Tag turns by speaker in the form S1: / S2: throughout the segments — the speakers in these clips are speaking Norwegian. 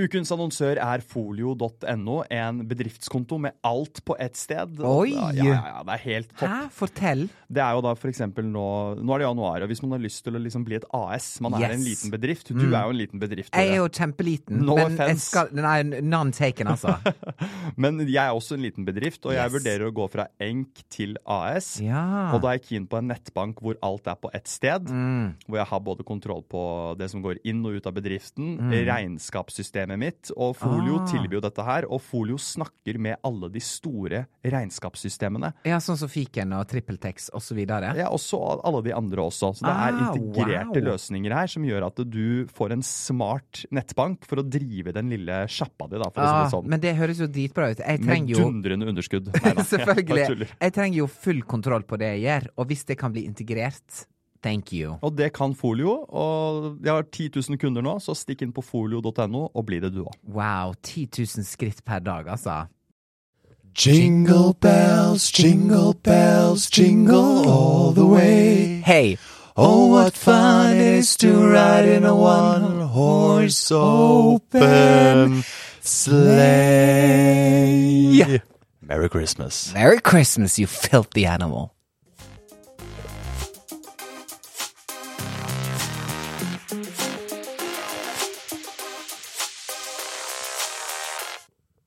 S1: Ukens annonsør er folio.no, en bedriftskonto med alt på ett sted.
S2: Oi!
S1: Ja, ja, ja, det er helt topp.
S2: Hæ? Fortell.
S1: Det er jo da for eksempel nå Nå er det januar, og hvis man har lyst til å liksom bli et AS Man er
S2: Yes.
S1: en liten bedrift. Du er jo en liten bedrift.
S2: Jeg
S1: Tore.
S2: er jo kjempeliten.
S1: No
S2: men jeg
S1: offense.
S2: skal, nei, none taken, altså.
S1: Men jeg er også en liten bedrift, og jeg
S2: Yes.
S1: vurderer å gå fra enk til AS.
S2: Ja.
S1: Og da er jeg keen på en nettbank hvor alt er på ett sted.
S2: Mm.
S1: Hvor jeg har både kontroll på det som går inn og ut av bedriften, regnskapssystemet mitt. Og Folio
S2: Mm. Ah.
S1: tilbyr jo dette her. Og Folio snakker med alle de store regnskapssystemene.
S2: Ja, sånn som Fiken og TrippelTex og så videre.
S1: Ja, også alle de andre også. Så det er
S2: Ah,
S1: integrerte
S2: wow.
S1: løsninger her som gjør at du får en smart nettbank for å drive den lille sjappa di, da, for å
S2: Ah,
S1: si det sånn.
S2: men det høres jo dritbra ut. Jeg
S1: Med
S2: trenger jo
S1: dundrende underskudd. Nei da, jeg bare
S2: Selvfølgelig.
S1: tuller.
S2: Jeg trenger jo full kontroll på det jeg gjør, og hvis det kan bli integrert, thank you.
S1: Og det kan Folio. Og jeg har 10 000 kunder nå, så stikk inn på folio.no og bli det du òg.
S2: Wow, 10 000 skritt per dag, altså.
S3: Jingle bells, jingle bells, jingle all the way.
S2: Hei!
S3: Oh, what fun it is to ride in a one horse open sleigh. Merry Christmas.
S2: Merry Christmas, you filthy animal.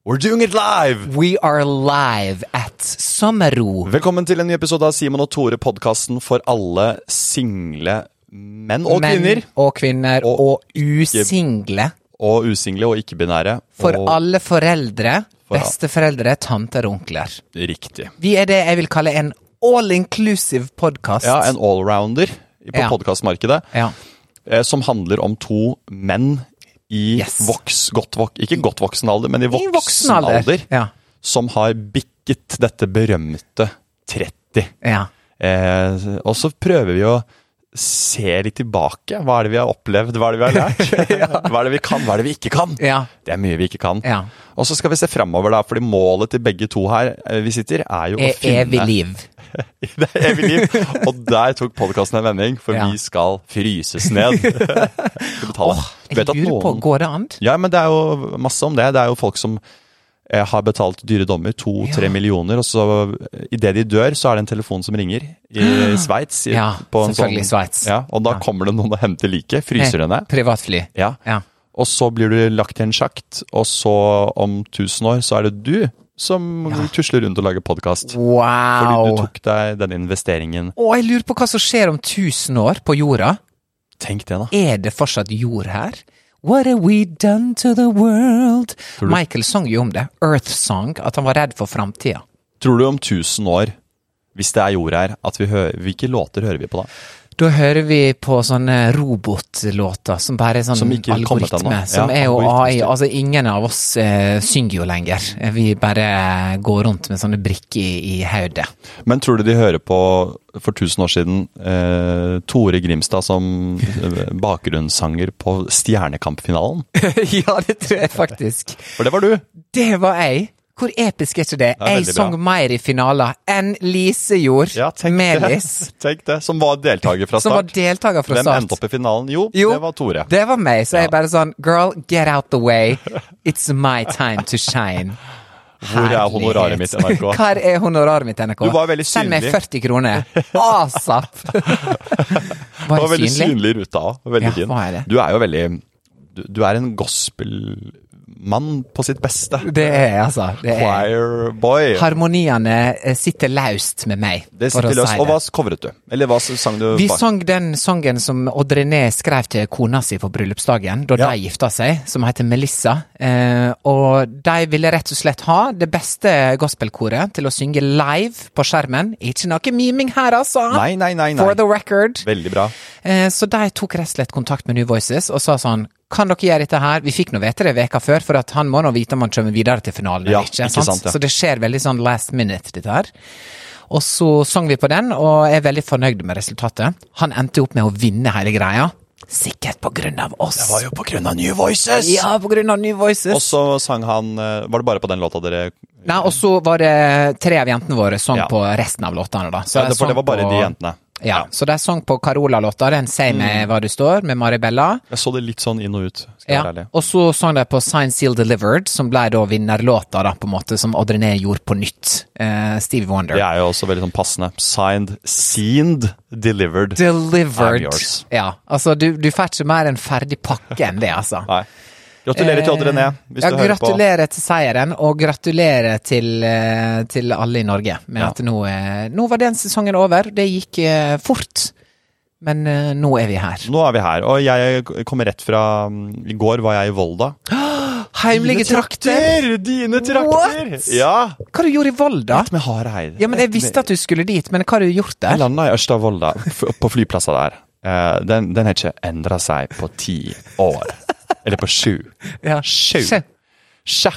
S3: We're doing it live!
S2: We are live at Sommerro.
S3: Velkommen til en ny episode av Simon og Tore, podkasten for alle single menn og kvinner.
S2: Og kvinner.
S3: Og
S2: Og, usingle.
S3: Og usingle og ikke-binære.
S2: For
S3: og
S2: alle foreldre.
S3: For al-
S2: Besteforeldre, tanter og onkler.
S3: Riktig.
S2: Vi er det jeg vil kalle en all inclusive podkast.
S3: Ja, en allrounder på
S2: Ja.
S3: podcastmarkedet.
S2: Ja.
S3: eh, som handler om to menn i
S2: Yes.
S3: voks, godt vok, ikke godt voksen alder, men i
S2: I
S3: voksen,
S2: voksen
S3: alder,
S2: alder. Ja.
S3: som har bikket dette berømte 30.
S2: ja.
S3: Eh, og så prøver vi å se litt tilbake. Hva er det vi har opplevd, hva er det vi har lært? Hva er det vi kan, hva er det vi ikke kan?
S2: Ja.
S3: Det er mye vi ikke kan.
S2: Ja.
S3: Og så skal vi se framover, da, fordi målet til begge to her eh, vi sitter, er jo
S2: E
S3: å finne
S2: evig liv.
S3: det er evig liv. Og der tok podkasten en vending, for
S2: Ja.
S3: vi skal fryses ned. Skal betale. Du
S2: Jeg
S3: vet at
S2: lurer på,
S3: noen-
S2: går det an?
S3: Ja, men det er jo masse om det. Det er jo folk som eh, har betalt dyre dommer, to-tre
S2: Ja.
S3: millioner, og så eh, idet de dør, så er det en telefon som ringer i Sveits. i-
S2: Ja,
S3: på en sånn-
S2: selvfølgelig Sveits.
S3: Ja, og da kommer det noen og henter liket. Fryser det ned.
S2: Privatfly.
S3: Ja.
S2: Ja.
S3: Og så blir du lagt i en sjakt, og så om tusen år så er det du som tusler rundt og lager podkast. Fordi du
S2: Wow.
S3: tok deg den investeringen.
S2: Og jeg lurer på hva som skjer om 1000 år på jorda.
S3: Tenk det, da.
S2: Er det fortsatt jord her? What have we done to the world? Michael sang jo om det. Earth Song. At han var redd for framtida.
S3: Tror du om tusen år, hvis det er jord her, at vi hører, hvilke låter hører vi på da?
S2: Da hører vi på sånne robotlåter som bare er sånn
S3: Som ikke er kommet
S2: algoritme.
S3: ennå.
S2: Som
S3: Ja,
S2: er jo AI.
S3: algoritmestyrt.
S2: Altså, ingen av oss eh, synger jo lenger. Vi bare går rundt med sånne brikker i, i hodet.
S3: Men tror du de hører på, for tusen år siden, eh, Tore Grimstad som eh, bakgrunnssanger på Stjernekampfinalen?
S2: ja, det tror jeg faktisk.
S3: For det var du!
S2: Det var jeg. Hvor episk er ikke det?
S3: Det er
S2: jeg
S3: veldig
S2: sang
S3: bra.
S2: mer i finaler enn Lise gjorde. Melis.
S3: det. Tenk det. Som var deltaker fra
S2: Som var
S3: start.
S2: deltaker fra
S3: Hvem
S2: start.
S3: endte opp i finalen? Jo,
S2: Jo,
S3: det var Tore.
S2: Det var meg. Så
S3: Ja.
S2: jeg bare sånn Girl, get out the way. It's my time to shine.
S3: Hvor er honoraret mitt, NRK?
S2: Hvor er honoraret mitt, NRK?
S3: Du var veldig
S2: Send meg
S3: synlig.
S2: 40 kroner. Asap!
S3: Du
S2: Var
S3: var
S2: jeg
S3: veldig
S2: synlig?
S3: synlig i ruta òg. Veldig
S2: Ja,
S3: fin.
S2: var jeg det?
S3: Du er jo veldig Du, du er en gospel mann på sitt beste.
S2: Det er altså det er.
S3: Choir boy.
S2: Harmoniene eh, sitter løst med meg,
S3: Det
S2: for å
S3: sitter løst.
S2: si
S3: Og hva
S2: det.
S3: covret du? Eller hva sang du
S2: Vi
S3: bak?
S2: sang den sangen som Odd René skrev til kona si på bryllupsdagen, da
S3: Ja.
S2: de gifta seg, som heter Melissa. Eh, og de ville rett og slett ha det beste gospelkoret til å synge live på skjermen. Ikke noe miming her, altså!
S3: Nei, nei, nei.
S2: For the
S3: nei.
S2: record.
S3: Veldig bra.
S2: Eh, Så de tok rett og slett kontakt med New Voices og sa sånn kan dere gjøre dette her? Vi fikk nå vite det veka før, for at han må nå vite om han kommer videre til finalen
S3: Ja,
S2: eller ikke.
S3: ikke
S2: sant?
S3: sant, ja.
S2: Så det skjer veldig sånn last minute, dette her. Og så sang vi på den, og er veldig fornøyd med resultatet. Han endte opp med å vinne hele greia. Sikkert på grunn av oss.
S3: Det var jo på grunn av New Voices!
S2: Ja, på grunn av New Voices.
S3: Og så sang han eh, Var det bare på den låta dere
S2: Nei, og så var det tre av jentene våre sang
S3: Ja.
S2: på resten av låtene, da. Så
S3: ja,
S2: de
S3: det, For det
S2: sang
S3: var bare
S2: på-
S3: de jentene. Mm.
S2: Ja, så de sang på Carola-låta, den 'Say meg hva du står', med Maribella.
S3: Jeg så det litt sånn inn og ut. Skal jeg
S2: Ja,
S3: være ærlig.
S2: og så sang de på Sign Seal Delivered, som ble da vinnerlåta, da, på en måte, som Odd-René gjorde på nytt. Eh, Stevie Wonder.
S3: Det er jo også veldig sånn passende. Signed, seened, delivered. I'm
S2: Delivered.
S3: yours.
S2: Ja, altså, du, du får ikke mer enn ferdig pakke enn det, altså. Eh,
S3: Nei. Gratulerer til Odd René, hvis
S2: ja,
S3: du hører på.
S2: gratulerer til seieren, og gratulerer til, eh, til alle i Norge med
S3: Ja.
S2: at nå, eh, nå var den sesongen over. Det gikk eh, fort, men eh, nå er vi her.
S3: Nå er vi her, og jeg kommer rett fra mm, I går var jeg i Volda.
S2: Heimlige trakter!
S3: Dine trakter!
S2: What?
S3: Ja!
S2: Hva har du gjort i Volda?
S3: Med Hareid.
S2: Ja, men Jeg visste at du skulle dit, men hva har du gjort
S3: Jeg
S2: der?
S3: landa i Ørsta-Volda, f- på flyplassen der. Eh, Den, den har ikke endra seg på ti år. Eller på sju.
S2: Ja.
S3: Sju.
S2: Sjau.
S3: Sja.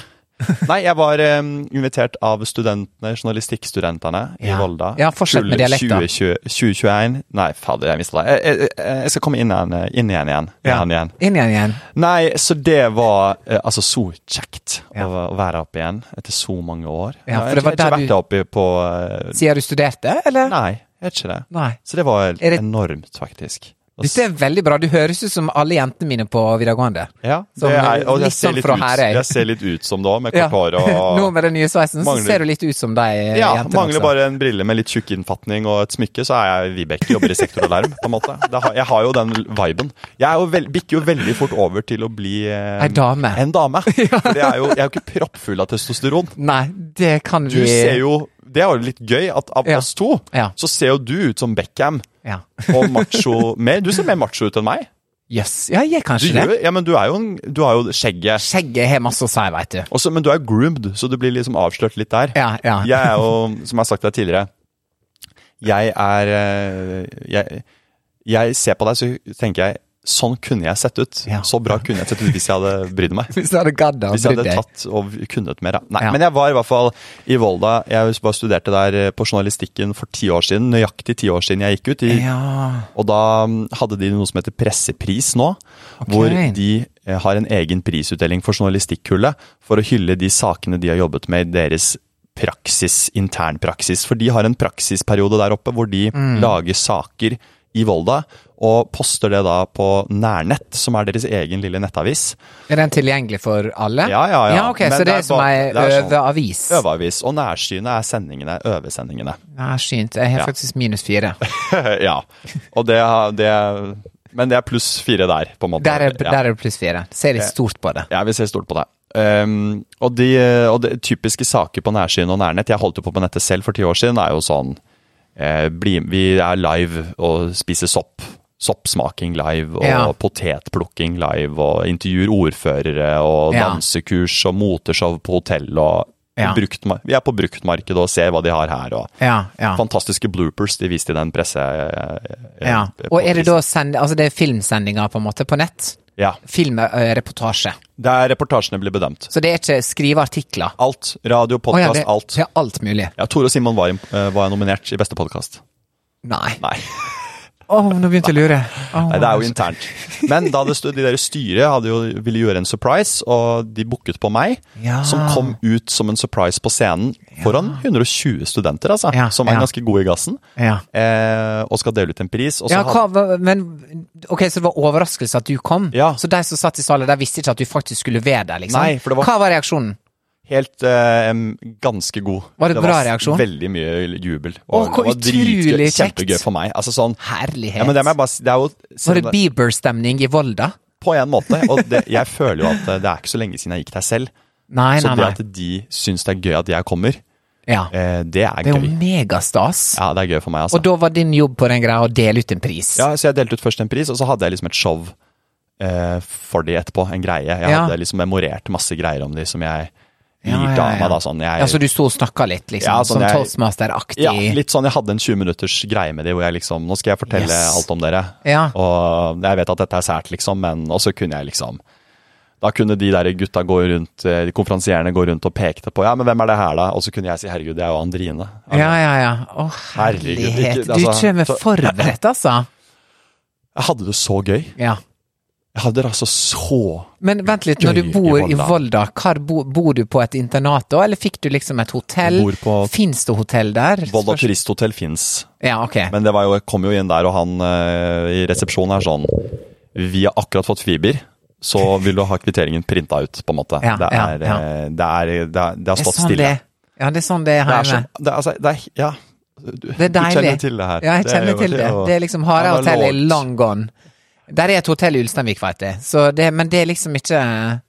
S3: Nei, jeg var eh, invitert av studentene, journalistikkstudentene i
S2: Ja.
S3: Volda.
S2: Ja, fortsett med
S3: Kull
S2: dialekta.
S3: 2020 2021 Nei, fader, jeg mista det. Jeg, jeg, jeg- jeg skal komme inn, igjen, eh, inn igjen igjen.
S2: Ja.
S3: Igjen, igjen.
S2: Inn igjen igjen.
S3: Nei, så det var eh, altså så kjekt
S2: Ja.
S3: å, å være oppe igjen etter så mange år.
S2: Ja, for
S3: jeg
S2: det var
S3: har ikke- jeg har ikke
S2: der
S3: vært oppe på eh,
S2: Siden du studerte, eller?
S3: Nei, jeg har ikke det.
S2: Nei.
S3: Så det var
S2: Er det-
S3: enormt, faktisk. Og s-
S2: Dette er veldig bra. Du høres ut som alle jentene mine på videregående.
S3: ja,
S2: som
S3: det er, og
S2: litt
S3: jeg ser
S2: sånn
S3: litt,
S2: fra
S3: ut,
S2: Herøy.
S3: jeg ser litt ut som det òg, med
S2: Ja.
S3: kort hår og
S2: Nå med den nye sveisen, så
S3: Mangler-
S2: ser du litt ut som de eh,
S3: Ja,
S2: jentene
S3: mangler
S2: også.
S3: bare en brille med litt tjukk innfatning og et smykke, så er jeg Vibeke, jobber i sektoralarm, på en måte. Det har, jeg har jo den viben. Jeg er jo vel, bikker jo veldig fort over til å bli eh,
S2: Ei dame.
S3: En dame. For det er jo, jeg er jo ikke proppfull av testosteron.
S2: Nei, det kan
S3: Du
S2: vi
S3: ser jo Det er jo litt gøy at av
S2: Ja.
S3: oss to,
S2: Ja.
S3: så ser jo du ut som Beckham
S2: Ja.
S3: og macho mer. Du ser mer macho ut enn meg.
S2: Jøss. Ja, jeg er
S3: Du,
S2: kanskje
S3: gjør,
S2: det.
S3: ja, men du, er jo en, du har jo skjegget.
S2: Skjegget har masse å si, veit du.
S3: Også, men du er groomed, så du blir liksom avslørt litt der.
S2: Ja, ja.
S3: Jeg er jo, som jeg har sagt deg tidligere Jeg er eh, jeg, jeg ser på deg, så tenker jeg Sånn kunne jeg sett ut.
S2: Ja.
S3: Så bra kunne jeg sett ut hvis jeg hadde brydd meg.
S2: Hvis du hadde gadd å
S3: Hvis jeg
S2: bry
S3: hadde
S2: deg.
S3: tatt og kunnet mer, da. Nei,
S2: Ja.
S3: Men jeg var i hvert fall i Volda. Jeg bare studerte der eh, på journalistikken for ti år siden. Nøyaktig ti år siden jeg gikk ut. I,
S2: Ja.
S3: Og da mm, hadde de noe som heter pressepris nå. Hvor de eh, har en egen prisutdeling for journalistikkullet for å hylle de sakene de har jobbet med i deres praksis, internpraksis. For de har en praksisperiode der oppe hvor de
S2: Mm.
S3: lager saker i Volda. Og poster det da på Nærnett, som er deres egen lille nettavis.
S2: Er den tilgjengelig for alle?
S3: Ja, ja, ja.
S2: ja ok,
S3: Men
S2: Så det
S3: det er
S2: er som
S3: bare-
S2: ei
S3: det er sånn-
S2: øveavis?
S3: Øveavis og nærsynet er sendingene, øvesendingene.
S2: Ja, skynt. Jeg har
S3: Ja.
S2: faktisk minus fire.
S3: ja. Og det, har- det Men det er pluss fire der, på en måte.
S2: Der er,
S3: ja.
S2: der er det pluss fire. Ser litt stort på det.
S3: Ja, vi ser stort på det. Ehm, og de og det typiske saker på nærsyn og nærnett Jeg holdt jo på på nettet selv for ti år siden. er jo sånn eh, bli, Vi er live og spiser sopp. Soppsmaking live og
S2: Ja.
S3: potetplukking live og intervjuer ordførere og
S2: Ja.
S3: dansekurs og moteshow på hotell og
S2: Ja.
S3: bruktmar- Vi er på bruktmarkedet og ser hva de har her. og
S2: Ja, ja.
S3: fantastiske bloopers de viste i den presse... eh,
S2: Ja. Og er det da send, altså det er filmsendinger på en måte på nett?
S3: Ja.
S2: Filmreportasje.
S3: Der reportasjene blir bedømt.
S2: Så det er ikke skrive artikler?
S3: Alt. Radio,
S2: Å ja,
S3: podkast,
S2: det,
S3: alt.
S2: det er alt mulig.
S3: Ja, Tore og Simon var, im- eh, var nominert i beste podkast.
S2: Nei.
S3: Nei.
S2: Å, nå begynte jeg å lure. Å,
S3: Nei, det er jo internt. Men da det stod, de der i styret hadde jo, ville gjøre en surprise, og de booket på meg,
S2: Ja.
S3: som kom ut som en surprise på scenen foran 120 studenter, altså,
S2: Ja,
S3: som er
S2: ja.
S3: ganske gode i gassen,
S2: Ja.
S3: eh, og skal dele ut en pris. Og så
S2: ja,
S3: hadde-
S2: hva, hva- men Ok, så det var overraskelse at du kom?
S3: Ja.
S2: Så de som satt i salen, de visste ikke at du faktisk skulle være der, liksom?
S3: Nei, for det var-
S2: Hva var reaksjonen?
S3: Helt eh, em, ganske god.
S2: Var det bra reaksjon?
S3: Veldig mye jubel.
S2: Å, hvor
S3: dritgøy.
S2: utrolig kjekt.
S3: Kjempegøy for meg. Altså sånn
S2: Herlighet.
S3: ja, men det, må jeg bare, si- det er jo
S2: var det Bieber-stemning i Volda?
S3: på en måte. Og det, jeg føler jo at eh, det er ikke så lenge siden jeg gikk der selv.
S2: Nei,
S3: Så
S2: nei,
S3: det
S2: nei.
S3: at de syns det er gøy at jeg kommer,
S2: Ja.
S3: eh, det er
S2: Det er
S3: gøy.
S2: jo megastas.
S3: Ja, det er gøy for meg, altså.
S2: Og da var din jobb på den greia å dele ut en pris.
S3: Ja, så jeg delte ut først en pris, og så hadde jeg liksom et show eh, for de etterpå. En greie. Jeg
S2: Ja.
S3: hadde liksom memorert masse greier om de som jeg lirte
S2: Ja, ja,
S3: av
S2: ja.
S3: meg. da, sånn. Jeg,
S2: Ja, så du sto og snakka litt, liksom?
S3: Ja, sånn
S2: som
S3: jeg-
S2: toastmaster-aktig?
S3: Ja, litt sånn. Jeg hadde en 20 minutters greie med de hvor jeg liksom Nå skal jeg fortelle
S2: Yes.
S3: alt om dere.
S2: Ja.
S3: Og jeg vet at dette er sært, liksom, men Og så kunne jeg liksom Da kunne de der gutta gå rundt, eh, de konferansierende gå rundt og pekte på Ja, men hvem er det her, da? Og så kunne jeg si herregud, det er jo Andrine.
S2: ja, ja. ja. Å,
S3: Herregud, ikke-
S2: herlighet. Du
S3: altså,
S2: kommer
S3: så-
S2: forberedt, altså.
S3: Jeg hadde det så gøy.
S2: Ja.
S3: Jeg hadde det altså så
S2: Men vent litt, når
S3: Gøy
S2: du bor
S3: i
S2: i
S3: Volda.
S2: Volda, hvor bo, bor du på et internat da, eller fikk du liksom et hotell?
S3: Jeg bor på-
S2: Fins det hotell der?
S3: Volda
S2: Spørs-
S3: turisthotell fins.
S2: Ja, ok.
S3: Men det var jo, jeg kom jo inn der, og han eh, i resepsjonen er sånn Vi har akkurat fått fiber, så vil du ha kvitteringen printa ut, på en måte.
S2: Ja,
S3: det,
S2: ja,
S3: er,
S2: ja.
S3: eh, det, er, det, er, det har
S2: Det er
S3: stått
S2: sånn
S3: stille.
S2: det- Ja, det er sånn det er
S3: Det er så,
S2: hjemme.
S3: det, er- altså, det er, ja. Du,
S2: Det er deilig.
S3: Du kjenner til det her.
S2: Ja, jeg
S3: Det er
S2: kjenner
S3: jo
S2: til
S3: veldig-
S2: det.
S3: og-
S2: Det er liksom
S3: Ja, det er
S2: Harehotellet er
S3: lågt.
S2: long gone. Der er et hotell i Ulsteinvik, veit jeg. Så det, men det er liksom ikke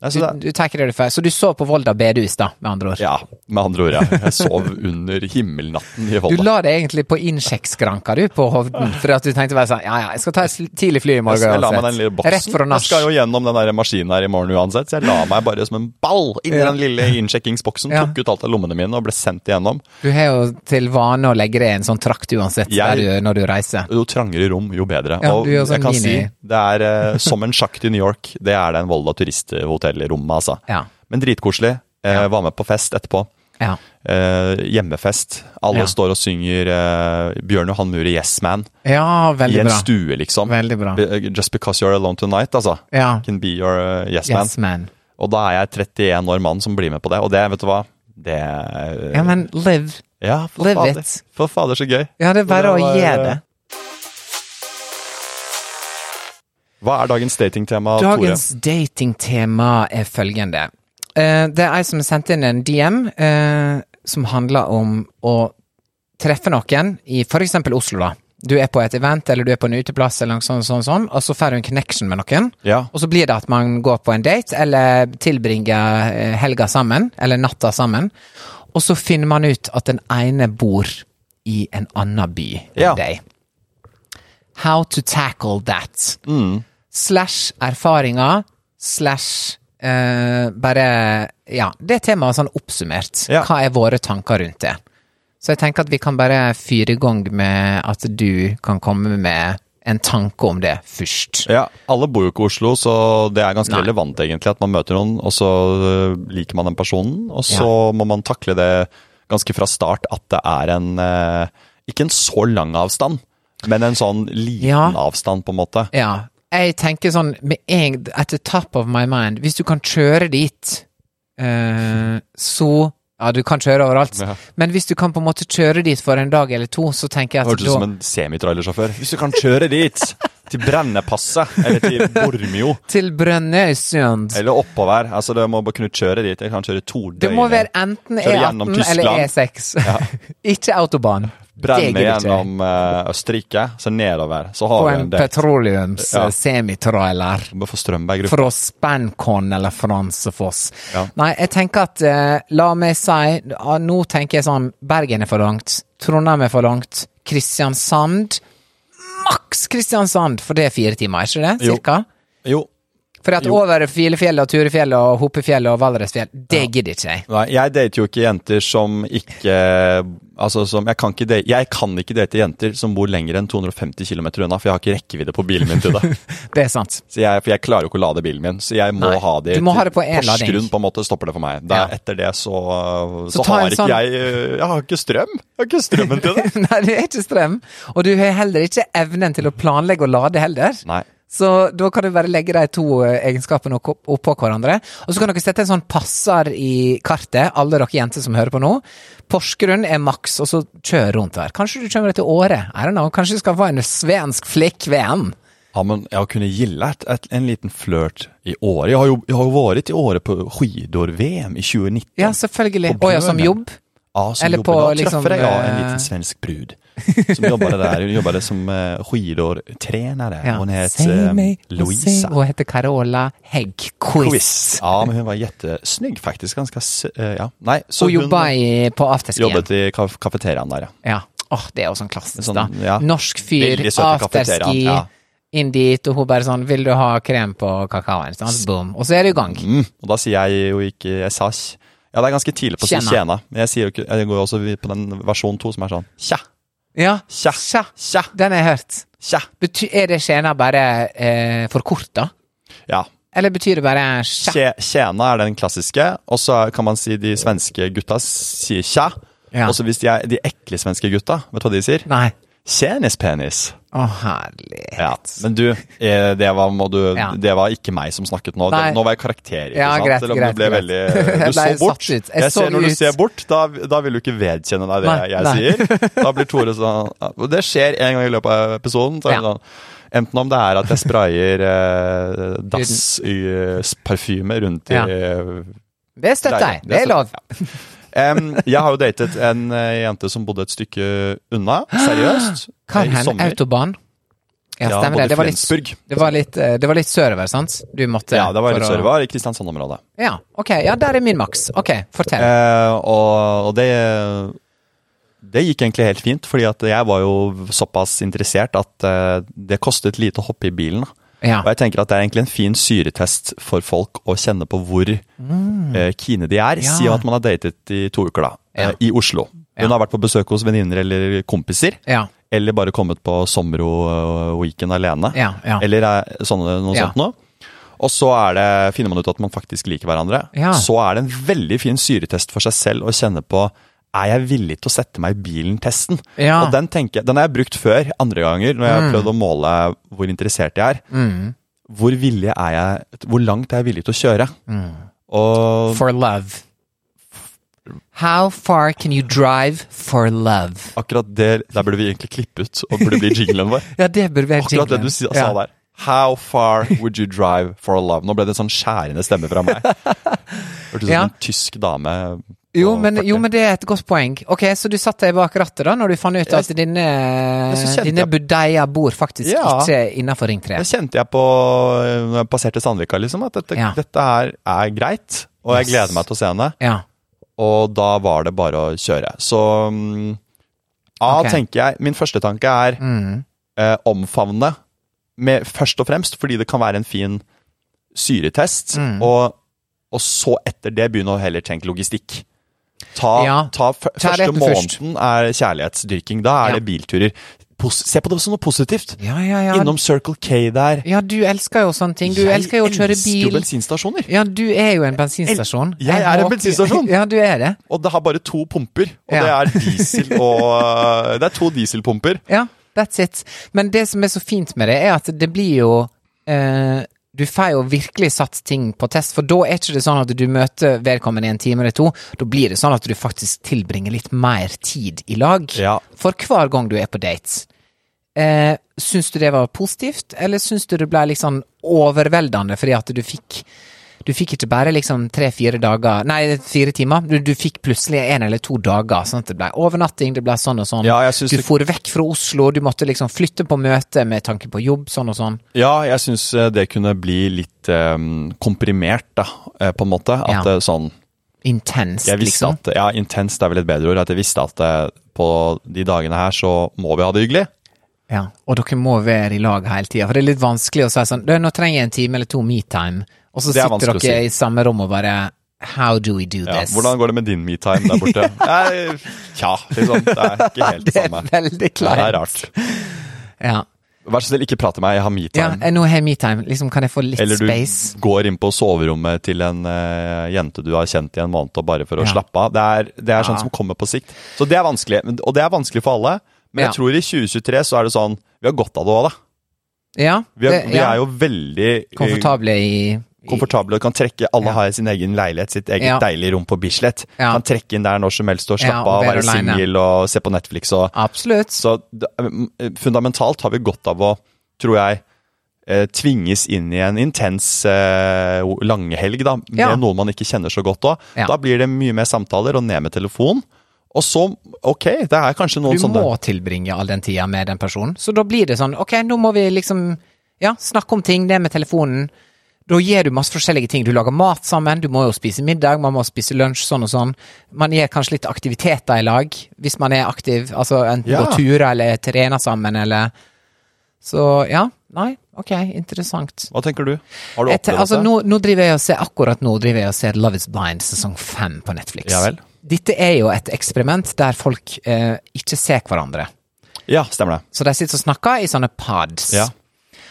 S3: Nei,
S2: Du,
S3: så det,
S2: du tar ikke det du får. Så du så på Volda bedehus, da, med andre ord.
S3: Altså, ja, med andre ord, ja. Jeg sov under himmelnatten i
S2: Du
S3: Volda.
S2: la det egentlig på innsjekkskranka, du, på Hovden, for at du tenkte bare sånn Ja, ja, jeg skal ta et sl- tidlig fly i morgen
S3: jeg la meg den lille boksen.
S2: Rett fra
S3: jeg
S2: nach.
S3: skal jo gjennom den der maskinen her i morgen uansett, så jeg la meg bare som en ball inn i
S2: Ja.
S3: den lille innsjekkingsboksen,
S2: Ja.
S3: tok ut alt av lommene mine og ble sendt igjennom.
S2: Du har jo til vane å legge det i en sånn trakt uansett
S3: Jeg-
S2: der du, når du reiser.
S3: Jo trangere rom, jo bedre.
S2: Ja,
S3: og
S2: du gjør
S3: jeg
S2: sånn
S3: kan
S2: mini-
S3: si, det er eh, som en sjakt i New York. Det er den Volda turisthotellrommet, altså.
S2: Ja.
S3: Men dritkoselig. Eh, var med på fest etterpå.
S2: Ja.
S3: Eh, hjemmefest. Alle
S2: Ja.
S3: står og synger eh, Bjørn Johan Muri Yes Man
S2: ja,
S3: i
S2: veldig
S3: en
S2: bra.
S3: stue, liksom.
S2: Veldig bra.
S3: Be- Just because you're alone tonight, altså.
S2: Ja.
S3: Can be your eh, yes, man.
S2: Yes, man.
S3: Og da er jeg 31 år mann som blir med på det. Og det, vet du hva Det
S2: Ja, men live.
S3: ja, for
S2: live
S3: fader.
S2: it.
S3: For fader, så gøy.
S2: Ja, det er bare
S3: Så
S2: å
S3: var,
S2: gjøre det.
S3: Hva er dagens datingtema, Tore?
S2: Dagens datingtema er følgende. Eh, det er ei som sendte inn en DM eh, som handler om å treffe noen i f.eks. Oslo, da. Du er på et event eller du er på en uteplass, eller noe sånt, sånn, sånn, og så får du en connection med noen.
S3: Ja.
S2: Og så blir det at man går på en date, eller tilbringer eh, helga sammen, eller natta sammen. Og så finner man ut at den ene bor i en annen by enn
S3: Ja.
S2: deg. How to tackle that. Slash erfaringer, slash eh, bare Ja, det temaet sånn oppsummert.
S3: Ja.
S2: Hva er våre tanker rundt det? Så jeg tenker at vi kan bare fyre i gang med at du kan komme med en tanke om det først.
S3: Ja, alle bor jo ikke i Oslo, så det er ganske
S2: Nei.
S3: relevant egentlig at man møter noen, og så øh, liker man den personen, og så må man takle det ganske fra start at det er en eh, Ikke en så lang avstand, men en sånn liten
S2: Ja.
S3: avstand, på en måte.
S2: Ja. Jeg tenker sånn med en, At the top of my mind Hvis du kan kjøre dit, eh, så Ja, du kan kjøre overalt,
S3: Ja.
S2: men hvis du kan på en måte kjøre dit for en dag eller to, så tenker jeg at
S3: Hørtes ut
S2: da
S3: som en semitrailersjåfør. Hvis du kan kjøre dit! Til Brennepasset, eller til Bormio,
S2: Til Brønnøysund.
S3: eller oppover. Altså, det må bare kunne kjøre dit. Jeg kan kjøre to døgn.
S2: Det må være enten
S3: Kjøre gjennom
S2: E18 eller E6. ikke autobahn. Det
S3: Brenne
S2: gidder ikke jeg.
S3: gjennom eh, Østerrike, så nedover. Så har
S2: På
S3: vi
S2: en
S3: en del. Ja.
S2: petroleums-semitrailer.
S3: Må få Strømberg Gruppen.
S2: Fra Spancon eller Fransefoss.
S3: Ja.
S2: Nei, jeg tenker at eh, La meg si ja, Nå tenker jeg sånn Bergen er for langt. Trondheim er for langt. Kristiansand Maks Kristiansand, for det er fire timer, er ikke det?
S3: Jo.
S2: Cirka?
S3: Jo,
S2: For at
S3: Jo.
S2: over Filefjellet og Turefjellet og Hoppefjellet og Valdresfjell, det gidder ikke jeg.
S3: Nei, jeg dater jo ikke jenter som ikke Altså, som Jeg kan ikke date, jeg kan ikke date jenter som bor lenger enn 250 km unna, for jeg har ikke rekkevidde på bilen min til det.
S2: Det er sant.
S3: Så jeg, for jeg klarer jo ikke å lade bilen min, så jeg må
S2: Nei,
S3: ha det
S2: du må ha det på
S3: til
S2: en lading.
S3: Porsgrunn, på en måte, stopper det for meg. Da,
S2: Ja.
S3: Etter det så Så,
S2: Så ta
S3: har
S2: en
S3: ikke
S2: sånn-
S3: jeg eh, Jeg har ikke strøm! Jeg har ikke strømmen til det.
S2: Nei, det er ikke strøm. Og du har heller ikke evnen til å planlegge og lade heller.
S3: Nei.
S2: Så da kan du bare legge de to eh, egenskapene opp- oppå hverandre. Og så kan dere sette en sånn passer i kartet, alle dere jenter som hører på nå. Porsgrunn er maks, og så kjør rundt der. Kanskje du kommer deg til Åre? I don't know. Kanskje du skal få en svensk flekk venn?
S3: Ja, men jeg kunne gilla et, et, en liten flørt i Åre. Jeg har jo, jeg har jo vært i Åre på skidor-VM i 2019.
S2: Ja, selvfølgelig.
S3: Og
S2: Å ja, som
S3: brønnen.
S2: jobb?
S3: Ja, som
S2: Eller
S3: jobber
S2: på
S3: da.
S2: liksom,
S3: Treffer jeg ja, en
S2: eh,
S3: liten svensk brud. som jobbade där. Hon jobbade som eh, skidårtränare.
S2: Ja.
S3: Hon
S2: Säg
S3: heter eh,
S2: mig och säg-
S3: Louisa.
S2: Och heter Carola Häggquiz.
S3: Quiz. Ja, men hon var jättesnygg faktiskt. Ganska, s- eh, ja. Nej, så
S2: Og
S3: hun
S2: jobba i, på afterskien.
S3: jobbet i kaf kafeteriaen der, ja.
S2: Ja. Åh, det er jo sånn klassisk,
S3: Sånn,
S2: da.
S3: ja.
S2: Norsk fyr,
S3: Veldig søte
S2: afterski,
S3: kafeteriaen, ja.
S2: inn dit, og hun bare sånn 'Vil du ha krem på kakaoen?' Sånn, boom. Og så er det i gang.
S3: Mm. Og da sier jeg jo ikke jeg sa, tj- Ja, det er ganske tidlig på å si
S2: Tjena.
S3: tjena. Men jeg, sier jo ikke, jeg går jo også på den versjon to som er sånn tja,
S2: Ja.
S3: Tja.
S2: Tja.
S3: tja,
S2: Den har jeg hørt.
S3: tja.
S2: Bety er det tjena bare eh, for kort, da?
S3: Ja.
S2: Eller betyr det bare tja?
S3: Tje, tjena er den klassiske, og så kan man si de svenske gutta sier tja.
S2: Ja.
S3: Og så hvis de er de ekle svenske gutta, vet du hva de sier?
S2: Nei.
S3: Tjenispenis.
S2: Å, herlig.
S3: Ja. Men du, eh, det var, må du,
S2: Ja.
S3: det var ikke meg som snakket nå.
S2: Nei.
S3: Det, nå var jeg karakter, ikke
S2: Ja,
S3: sant?
S2: greit,
S3: Selv om
S2: greit,
S3: du ble
S2: greit.
S3: veldig eh,
S2: Jeg
S3: Du så
S2: ble
S3: bort.
S2: satt ut. Jeg
S3: Jeg,
S2: så
S3: ser når
S2: ut.
S3: du ser bort, da, da vil du ikke vedkjenne deg det
S2: Nei,
S3: jeg
S2: nei.
S3: sier. Da blir Tore sånn og Det skjer en gang i løpet av episoden. Så er det
S2: Ja.
S3: sånn, enten om det er at jeg sprayer eh, dassparfyme rundt i eh,
S2: Ja. Det støtter jeg. Det er lov.
S3: Em, jeg har jo datet en eh, jente som bodde et stykke unna, seriøst. eh, i
S2: Karhen
S3: sommer.
S2: autobahn. Ja,
S3: Ja,
S2: stemmer
S3: bodde i
S2: det. Det var, litt,
S3: Flensburg.
S2: det, var litt, eh, det var litt sørover, sant? Du måtte
S3: Ja, det var litt
S2: for å-
S3: server i Kristiansand-området.
S2: Ja, ok. Ja, der er min maks. Ok, fortell.
S3: Eh, og og det, det gikk egentlig helt fint, fordi at jeg var jo såpass interessert at eh, det kostet lite å hoppe i bilen. da.
S2: Ja.
S3: Og jeg tenker at det er egentlig en fin syretest for folk å kjenne på hvor eh, kine de er.
S2: Mm. Ja.
S3: Si at man har datet i to uker, da. eh,
S2: Ja.
S3: I Oslo. Hun har vært på besøk hos venninner eller kompiser.
S2: Ja.
S3: Eller bare kommet på sommerro-weekend alene.
S2: Ja, ja.
S3: Eller eh, sånne, noe
S2: Ja.
S3: sånt noe. Og så er det, finner man ut at man faktisk liker hverandre.
S2: Ja.
S3: Så er det en veldig fin syretest for seg selv å kjenne på er jeg villig til å sette meg i bilen-testen.
S2: Ja. Mm.
S3: Og den, tenker, jeg- den har jeg brukt før, andre ganger, når jeg har prøvd å måle hvor interessert jeg er. Hvor, villig er jeg, hvor langt er jeg villig til å kjøre?
S2: Mm.
S3: Og
S2: For love. How far can you drive for love?
S3: akkurat det, der burde vi egentlig klippe ut, og burde bli jinglen vår.
S2: Ja, det burde være
S3: Akkurat det du si- sa der. How far would you drive for love? Nå ble det en sånn skjærende stemme fra meg. Hørtes ut som
S2: Ja.
S3: en tysk dame. på
S2: Jo men,
S3: 40.
S2: jo, men det er et godt poeng. Ok, Så du satt deg bak rattet da når du fant ut at dine,
S3: så kjente
S2: dine
S3: jeg-
S2: budeia bor faktisk
S3: Ja.
S2: ikke innafor Ring 3?
S3: Da kjente jeg på, eh, når jeg passerte Sandvika, liksom, at dette,
S2: Ja.
S3: dette her er greit. Og jeg gleder meg til å se henne.
S2: Ja.
S3: Og da var det bare å kjøre. Så mm, A,
S2: Ok. Mm.
S3: tenker jeg Min første tanke er eh, omfavne, med, først og fremst fordi det kan være en fin syretest.
S2: Mm.
S3: Og, og så etter det begynne å heller tenke logistikk. Ta,
S2: Ja.
S3: ta fø- første
S2: Kjærligheten først.
S3: måneden er kjærlighetsdyrking. Da
S2: Ja.
S3: er det bilturer. Pos se på det som noe positivt.
S2: Ja, ja, ja.
S3: Innom Circle K der.
S2: ja, du elsker jo sånne ting. Du
S3: Jeg
S2: elsker jo å kjøre
S3: elsker jo
S2: bil.
S3: bensinstasjoner.
S2: Ja, du er jo en bensinstasjon.
S3: Jeg er en
S2: håper-
S3: bensinstasjon.
S2: Ja, du er det.
S3: Og det har bare to pumper. Og
S2: Ja.
S3: det er diesel og eh, Det er to dieselpumper.
S2: Ja, that's it. Men det som er så fint med det, er at det blir jo eh, Du får jo virkelig satt ting på test, for da er ikke det sånn at du møter vedkommende i en time eller to. Da blir det sånn at du faktisk tilbringer litt mer tid i lag
S3: Ja.
S2: for hver gang du er på dates. Eh, syns du det var positivt, eller syns du det ble litt sånn overveldende fordi at du fikk du fikk ikke bare liksom tre-fire dager Nei, fire timer. Du, du fikk plutselig en eller to dager. Sånn at det ble overnatting, det ble sånn og sånn.
S3: Ja, jeg syns
S2: du
S3: det-
S2: for vekk fra Oslo, du måtte liksom flytte på møte med tanke på jobb, sånn og sånn.
S3: Ja, jeg syns eh, det kunne bli litt eh, komprimert, da, eh, på en måte. At
S2: Ja.
S3: eh, sånn
S2: Intenst,
S3: jeg visste
S2: liksom.
S3: at, Ja, intenst er vel et bedre ord. At jeg visste at eh, på de dagene her så må vi ha det hyggelig.
S2: Ja. Og dere må være i lag hele tida, for det er litt vanskelig å si sånn «Du, Nå trenger jeg en time eller to metime, og så
S3: Det er
S2: sitter
S3: vanskelig å
S2: dere
S3: si.
S2: i samme rom og bare How do we do
S3: Ja,
S2: this?
S3: hvordan går det med din metime der borte? Nei, Tja, liksom. Det er ikke helt det
S2: det er
S3: samme.
S2: veldig
S3: Ja,
S2: kleint.
S3: Det er rart.
S2: Ja.
S3: Vær så snill, ikke prate til meg. Jeg har
S2: ja,
S3: metime.
S2: eh, nå har jeg metime. Liksom, kan jeg få litt
S3: Eller du
S2: space?
S3: går inn på soverommet til en eh, jente du har kjent i en måned, og bare for å
S2: Ja.
S3: slappe av. Det er, det er sånt som kommer på sikt. Så det er vanskelig, men- og det er vanskelig for alle. Men
S2: Ja.
S3: jeg tror i 2023 så er det sånn Vi har godt av det òg, da.
S2: Ja.
S3: Vi er,
S2: det-
S3: vi
S2: ja.
S3: er jo veldig eh,
S2: Komfortable i, i
S3: komfortable og kan trekke Alle
S2: Ja.
S3: har sin egen leilighet, sitt eget
S2: Ja.
S3: deilige rom på Bislett.
S2: Ja.
S3: Kan trekke inn der når som helst og
S2: Ja,
S3: slappe
S2: og
S3: av,
S2: være
S3: være
S2: alene.
S3: singel og se på Netflix og
S2: Absolutt.
S3: Så det- eh, fundamentalt har vi godt av å, tror jeg, eh, tvinges inn i en intens eh, langhelg da, med
S2: Ja.
S3: noen man ikke kjenner så godt òg.
S2: Ja.
S3: Da blir det mye mer samtaler og ned med telefon. Og så, ok, det er kanskje noen
S2: Du
S3: sånne
S2: må tilbringe all den tida med den personen. Så da blir det sånn, ok, nå må vi liksom ja, snakke om ting, det med telefonen. Da gjør du masse forskjellige ting. Du lager mat sammen, du må jo spise middag, man må spise lunsj, sånn og sånn. Man gjør kanskje litt aktiviteter i lag, hvis man er aktiv. Altså enten
S3: Ja.
S2: gå turer eller trene sammen, eller Så ja. Nei, ok, interessant.
S3: Hva tenker du? Har du
S2: Jeg te-
S3: opplevd
S2: altså,
S3: det?
S2: nå, nå driver jeg og ser, akkurat nå driver jeg og ser Love Is Blind sesong fem på Netflix.
S3: Ja vel.
S2: Dette er jo et eksperiment der folk eh, ikke ser hverandre.
S3: Ja, stemmer det.
S2: Så de sitter og snakker i sånne pods.
S3: Ja.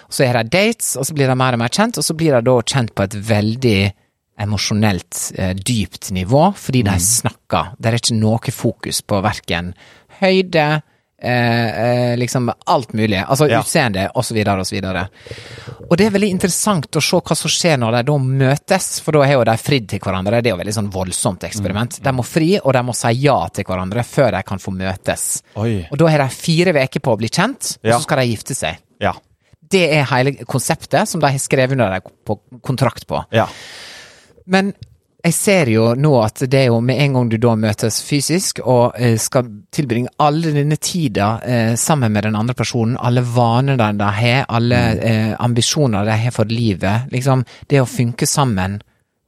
S2: Så er de dates, og så blir de mer og mer kjent, og så blir de da kjent på et veldig emosjonelt eh, dypt nivå, fordi
S3: Mm.
S2: de snakker. Det er ikke noe fokus på verken høyde, eh, eh, liksom alt mulig, altså
S3: Ja.
S2: utseende, og så videre, og så videre. Og det er veldig interessant å se hva som skjer når de da møtes, for da har jo de fridd til hverandre. Det er jo veldig sånn voldsomt
S3: Mm.
S2: eksperiment. De må fri, og de må si ja til hverandre før de kan få møtes.
S3: Oi.
S2: Og da har de fire uker på å bli kjent, og
S3: Ja.
S2: så skal de gifte seg.
S3: Ja.
S2: Det er hele konseptet som de har skrevet under deg på kontrakt på.
S3: Ja.
S2: Men jeg ser jo nå at det er jo med en gang du da møtes fysisk og eh, skal tilbringe alle denne tida eh, sammen med den andre personen, alle vaner de de har, alle
S3: Mm.
S2: eh, ambisjoner de har for livet, liksom det å funke sammen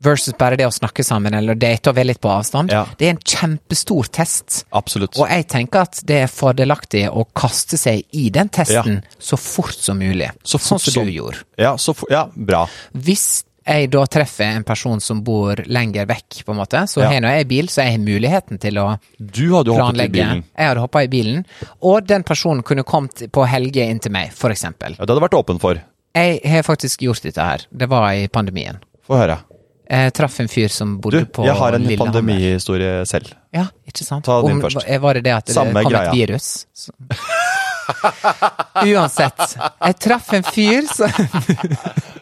S2: versus bare det å snakke sammen eller date og være litt på avstand,
S3: Ja.
S2: det er en kjempestor test.
S3: Absolutt.
S2: Og jeg tenker at det er fordelaktig å kaste seg i den testen så fort som mulig.
S3: Så fort
S2: sånn som
S3: som-
S2: du gjorde.
S3: Ja, så, for- ja, bra.
S2: Hvis jeg da treffer en person som bor lenger vekk, på en måte, så
S3: Ja.
S2: har nå jeg bil, så jeg har muligheten til å
S3: Du hadde jo hoppet i
S2: planlegge.
S3: bilen.
S2: Jeg hadde hoppa i bilen, og den personen kunne kommet på helge inn til meg, for eksempel.
S3: Ja, det hadde vært åpen for.
S2: Jeg har faktisk gjort dette her. Det var i pandemien.
S3: Få høre.
S2: Jeg traff en fyr som
S3: Du,
S2: bodde på
S3: jeg har en
S2: Lillehammer.
S3: pandemihistorie selv.
S2: Ja, ikke sant?
S3: Ta din først.
S2: hva- Var det det at det
S3: Samme
S2: kom
S3: greia.
S2: et virus? Så- Uansett. Jeg traff en fyr som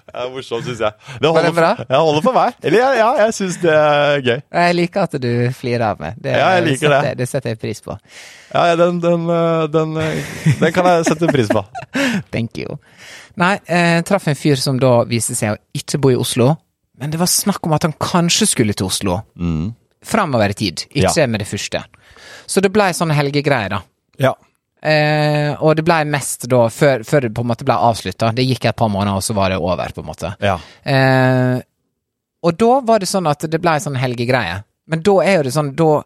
S3: Det er morsomt, syns jeg. Det
S2: Var det bra?
S3: For, jeg holder for meg. Eller ja, ja jeg syns det er gøy.
S2: Jeg liker at du flirer av meg. Det,
S3: Ja, jeg liker
S2: setter,
S3: det.
S2: Det setter jeg pris på.
S3: Ja, ja, den, den, øh, den, øh, den kan jeg sette pris på.
S2: Thank you. Nei, jeg traff en fyr som da viste seg å ikke bo i Oslo, men det var snakk om at han kanskje skulle til Oslo. Mm. Framover i tid, ikke
S3: Ja.
S2: med det første. Så det blei sånne helgegreier, da.
S3: Ja.
S2: Eh, og det blei mest da, før, før det på en måte blei avslutta. Det gikk et par måneder, og så var det over, på en måte.
S3: Ja.
S2: Eh, og da var det sånn at det blei sånn helgegreie. Men da er jo det sånn da,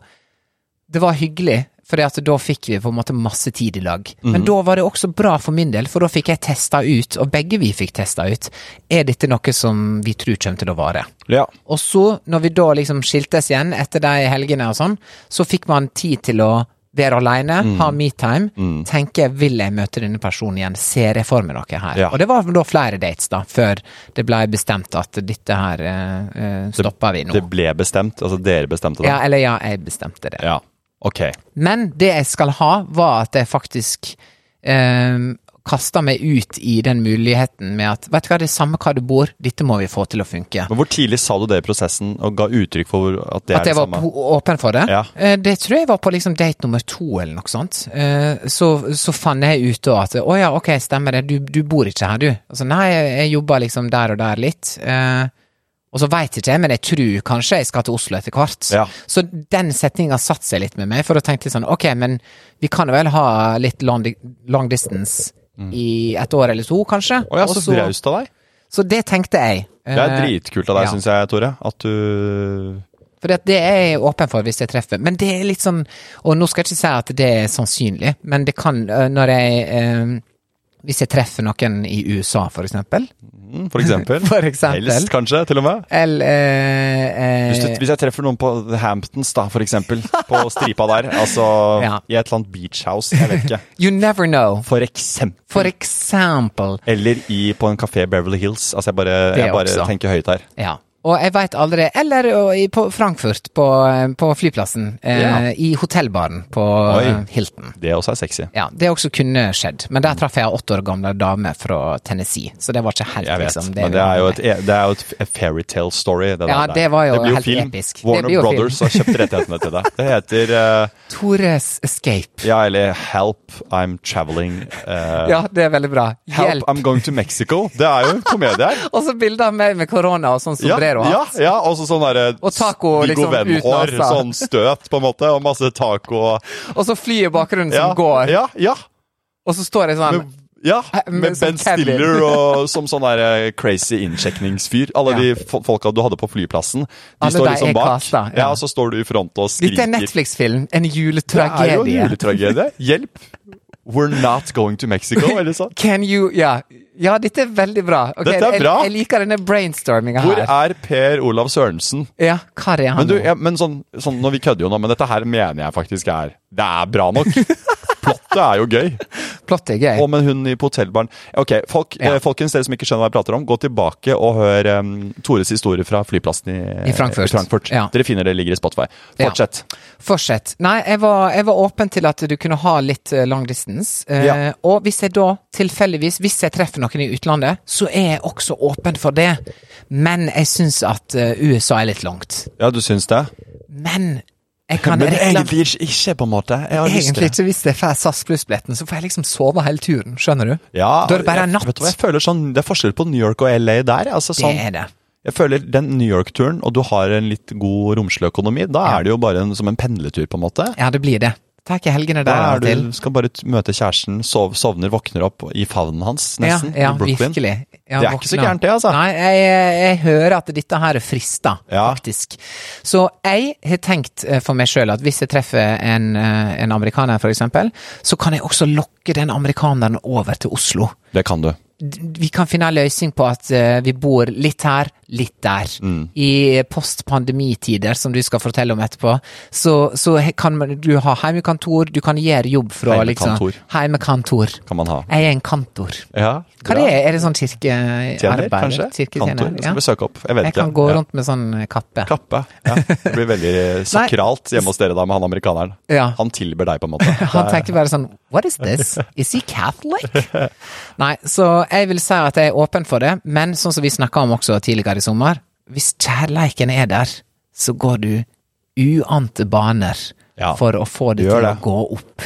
S2: Det var hyggelig, Fordi at da fikk vi på en måte masse tid i lag. Men da var det også bra for min del, for da fikk jeg testa ut, og begge vi fikk testa ut, er dette noe som vi tror kommer til å vare.
S3: ja.
S2: Og så, når vi da liksom skiltes igjen etter de helgene og sånn, så fikk man tid til å være aleine,
S3: Mm.
S2: ha metime, tenke vil jeg møte denne personen igjen, ser jeg for meg noe her?
S3: Ja.
S2: Og det var da flere dates, da, før det blei bestemt at dette her eh, eh, stopper vi nå.
S3: Det ble bestemt. Altså, dere bestemte det.
S2: ja, eller ja, jeg bestemte det.
S3: Ja. Ok.
S2: Men det jeg skal ha, var at jeg faktisk eh, kasta meg ut i den muligheten med at vet du hva, det er samme hva du bor, dette må vi få til å funke.
S3: Men hvor tidlig sa du det i prosessen, og ga uttrykk for hvor- at det
S2: At
S3: er
S2: jeg
S3: det
S2: var
S3: samme?
S2: på- åpen for det?
S3: Ja.
S2: Eh, Det tror jeg var på liksom date nummer to, eller noe sånt. Eh, Så, så fant jeg ut da at å ja, ok, stemmer det, du, du bor ikke her, du. Altså nei, jeg, jeg jobber liksom der og der litt. Eh, Og så veit ikke jeg, men jeg tror kanskje jeg skal til Oslo etter hvert.
S3: Ja.
S2: Så den setninga satte seg litt med meg, for da tenkte jeg sånn ok, men vi kan vel ha litt long, di- long distance i et år eller to, kanskje.
S3: Mm. Å ja,
S2: Og
S3: så raust av deg.
S2: så det tenkte jeg.
S3: Det er
S2: Eh,
S3: dritkult av deg,
S2: ja.
S3: syns jeg, Tore. At du
S2: For det, det er jeg åpen for hvis jeg treffer. Men det er litt sånn Og nå skal jeg ikke si at det er sannsynlig, men det kan øh, når jeg øh, Hvis jeg treffer noen i USA, for eksempel.
S3: Mm, For eksempel.
S2: For eksempel.
S3: Helst, kanskje, til og med.
S2: Eller øh, øh,
S3: Hvis, du, hvis jeg treffer noen på The Hamptons, da, for eksempel. På stripa der. Altså
S2: Ja.
S3: i et eller annet beach house, jeg vet ikke.
S2: You never know.
S3: For eksempel.
S2: For eksempel.
S3: Eller i, på en kafé Beverly Hills. Altså, jeg bare,
S2: Det
S3: jeg bare
S2: også.
S3: tenker høyt her.
S2: Ja. Og jeg veit aldri Eller øh, i- på Frankfurt, på, øh, på flyplassen. øh,
S3: Ja.
S2: I hotellbaren på
S3: Oi.
S2: øh, Hilton.
S3: Det også er sexy.
S2: Ja, Det også kunne skjedd, men der traff jeg en åtte år gamle dame fra Tennessee. Så det var ikke helt
S3: Jeg vet,
S2: liksom,
S3: men
S2: vi
S3: det er jo
S2: hadde.
S3: et, e, det er jo et f- fairytale story. Det, der.
S2: Ja, det var jo
S3: det blir
S2: helt
S3: film.
S2: episk. Det
S3: Warner
S2: blir jo film.
S3: Brothers har kjøpt rettighetene til det. Det heter eh,
S2: Tores Escape.
S3: Ja, eller Help, I'm Traveling eh,
S2: Ja, det er veldig bra.
S3: Help, um,
S2: Hjelp.
S3: I'm Going to Mexico. Det er jo en komedie her.
S2: Og så bilder av meg med korona og sånn
S3: Ja,
S2: sombrero
S3: Ja,
S2: sombrero-hatt.
S3: ja, og så sånn derre
S2: Og taco,
S3: Viggo
S2: liksom, uten
S3: Venn-hår,
S2: nasa.
S3: sånn støt, på en måte, og masse taco og
S2: Og så fly i bakgrunnen
S3: ja,
S2: som går,
S3: Ja, ja.
S2: og så står jeg sånn
S3: Med, ja,
S2: Eh, men
S3: med
S2: som
S3: Ben
S2: Kevin.
S3: Stiller og som sånn der eh, crazy innsjekningsfyr. Alle
S2: Ja.
S3: de fo- folka du hadde på flyplassen, de
S2: Alle
S3: står
S2: de er
S3: liksom bak.
S2: casta, ja.
S3: ja. og så står du i front og skriker.
S2: Dette er en Netflix-film. En
S3: Det er jo en
S2: juletragedie.
S3: juletragedie. Hjelp! We're not going to Mexico, eller sånn.
S2: Can you Ja, ja dette er veldig bra. Ok,
S3: Dette er
S2: jeg,
S3: bra.
S2: jeg liker denne brainstorminga
S3: Hvor
S2: her.
S3: er Per Olav Sørensen?
S2: Ja, hva er det han
S3: Men, du,
S2: nå?
S3: ja, men sånn, sånn, nå, Vi kødder jo nå, men dette her mener jeg faktisk er Det er bra nok. Plottet er jo gøy.
S2: Plottet er gøy.
S3: Og med hun i på hotellbaren Ok, folk,
S2: Ja.
S3: eh, Folkens, dere som ikke skjønner hva jeg prater om, gå tilbake og hør em, Tores historie fra flyplassen i,
S2: I Frankfurt. Ja.
S3: Dere finner det ligger i Spotify.
S2: Ja.
S3: Fortsett.
S2: Fortsett. Nei, jeg var, jeg var åpen til at du kunne ha litt eh, long distance. Eh,
S3: Ja.
S2: Og hvis jeg da tilfeldigvis, hvis jeg treffer noen i utlandet, så er jeg også åpen for det. Men jeg syns at eh, USA er litt langt.
S3: Ja, du syns det?
S2: Men jeg kan
S3: Men
S2: reklam-
S3: egentlig ikke- ikke, på en måte. Jeg har lyst til
S2: Egentlig
S3: det.
S2: ikke hvis jeg får SAS pluss-billetten, så får jeg liksom sove hele turen, skjønner du?
S3: Ja,
S2: Da er det bare en
S3: jeg-
S2: natt.
S3: vet du hva, jeg føler sånn, Det er forskjell på New York og LA der. Altså,
S2: Det
S3: sånn,
S2: er det.
S3: Jeg føler den New York-turen, og du har en litt god romslig økonomi, da er det jo bare en, som en pendletur, på en måte.
S2: Ja, det blir det. Tar ikke helgene der
S3: Da
S2: av
S3: er
S2: og til.
S3: du, skal bare t- møte kjæresten, sov, sovner, våkner opp i favnen hans, nesten,
S2: ja, ja,
S3: i Brooklyn.
S2: Virkelig. Ja,
S3: Det er ikke så
S2: våkna.
S3: gærent det, altså.
S2: Nei, jeg, jeg hører at dette her frister,
S3: Ja.
S2: faktisk. Så jeg har tenkt eh, for meg sjøl at hvis jeg treffer en, eh, en amerikaner, for eksempel, så kan jeg også lokke den amerikaneren over til Oslo.
S3: Det kan du.
S2: D- Vi kan finne en løsning på at eh, vi bor litt her, litt der.
S3: Mm.
S2: I postpandemitider, som du skal fortelle om etterpå, så, så he- kan man- du ha heimekontor, du kan gjøre jobb fra
S3: Heimekontor.
S2: liksom Heimekontor.
S3: Kan man ha.
S2: Jeg er en kantor.
S3: Ja, bra.
S2: Hva det er? Er det sånn kirkearbeid?
S3: Tjener, kanskje?
S2: Kirketjener,
S3: Kantor?
S2: ja.
S3: Skal vi søke opp? Jeg vet
S2: Jeg kan
S3: ikke.
S2: gå
S3: Ja.
S2: rundt med sånn kappe.
S3: Kappe. Ja. Det blir veldig sakralt hjemme hos dere da, med han amerikaneren.
S2: Ja.
S3: Han tilber deg, på en måte.
S2: Han tenker bare sånn What is this? Is he Catholic? Nei, så jeg vil si at jeg er åpen for det, men sånn som vi snakka om også tidligere i sommer, hvis kjærleiken er der, så går du uante baner
S3: Ja,
S2: for å få det
S3: gjør
S2: til å
S3: det.
S2: gå opp.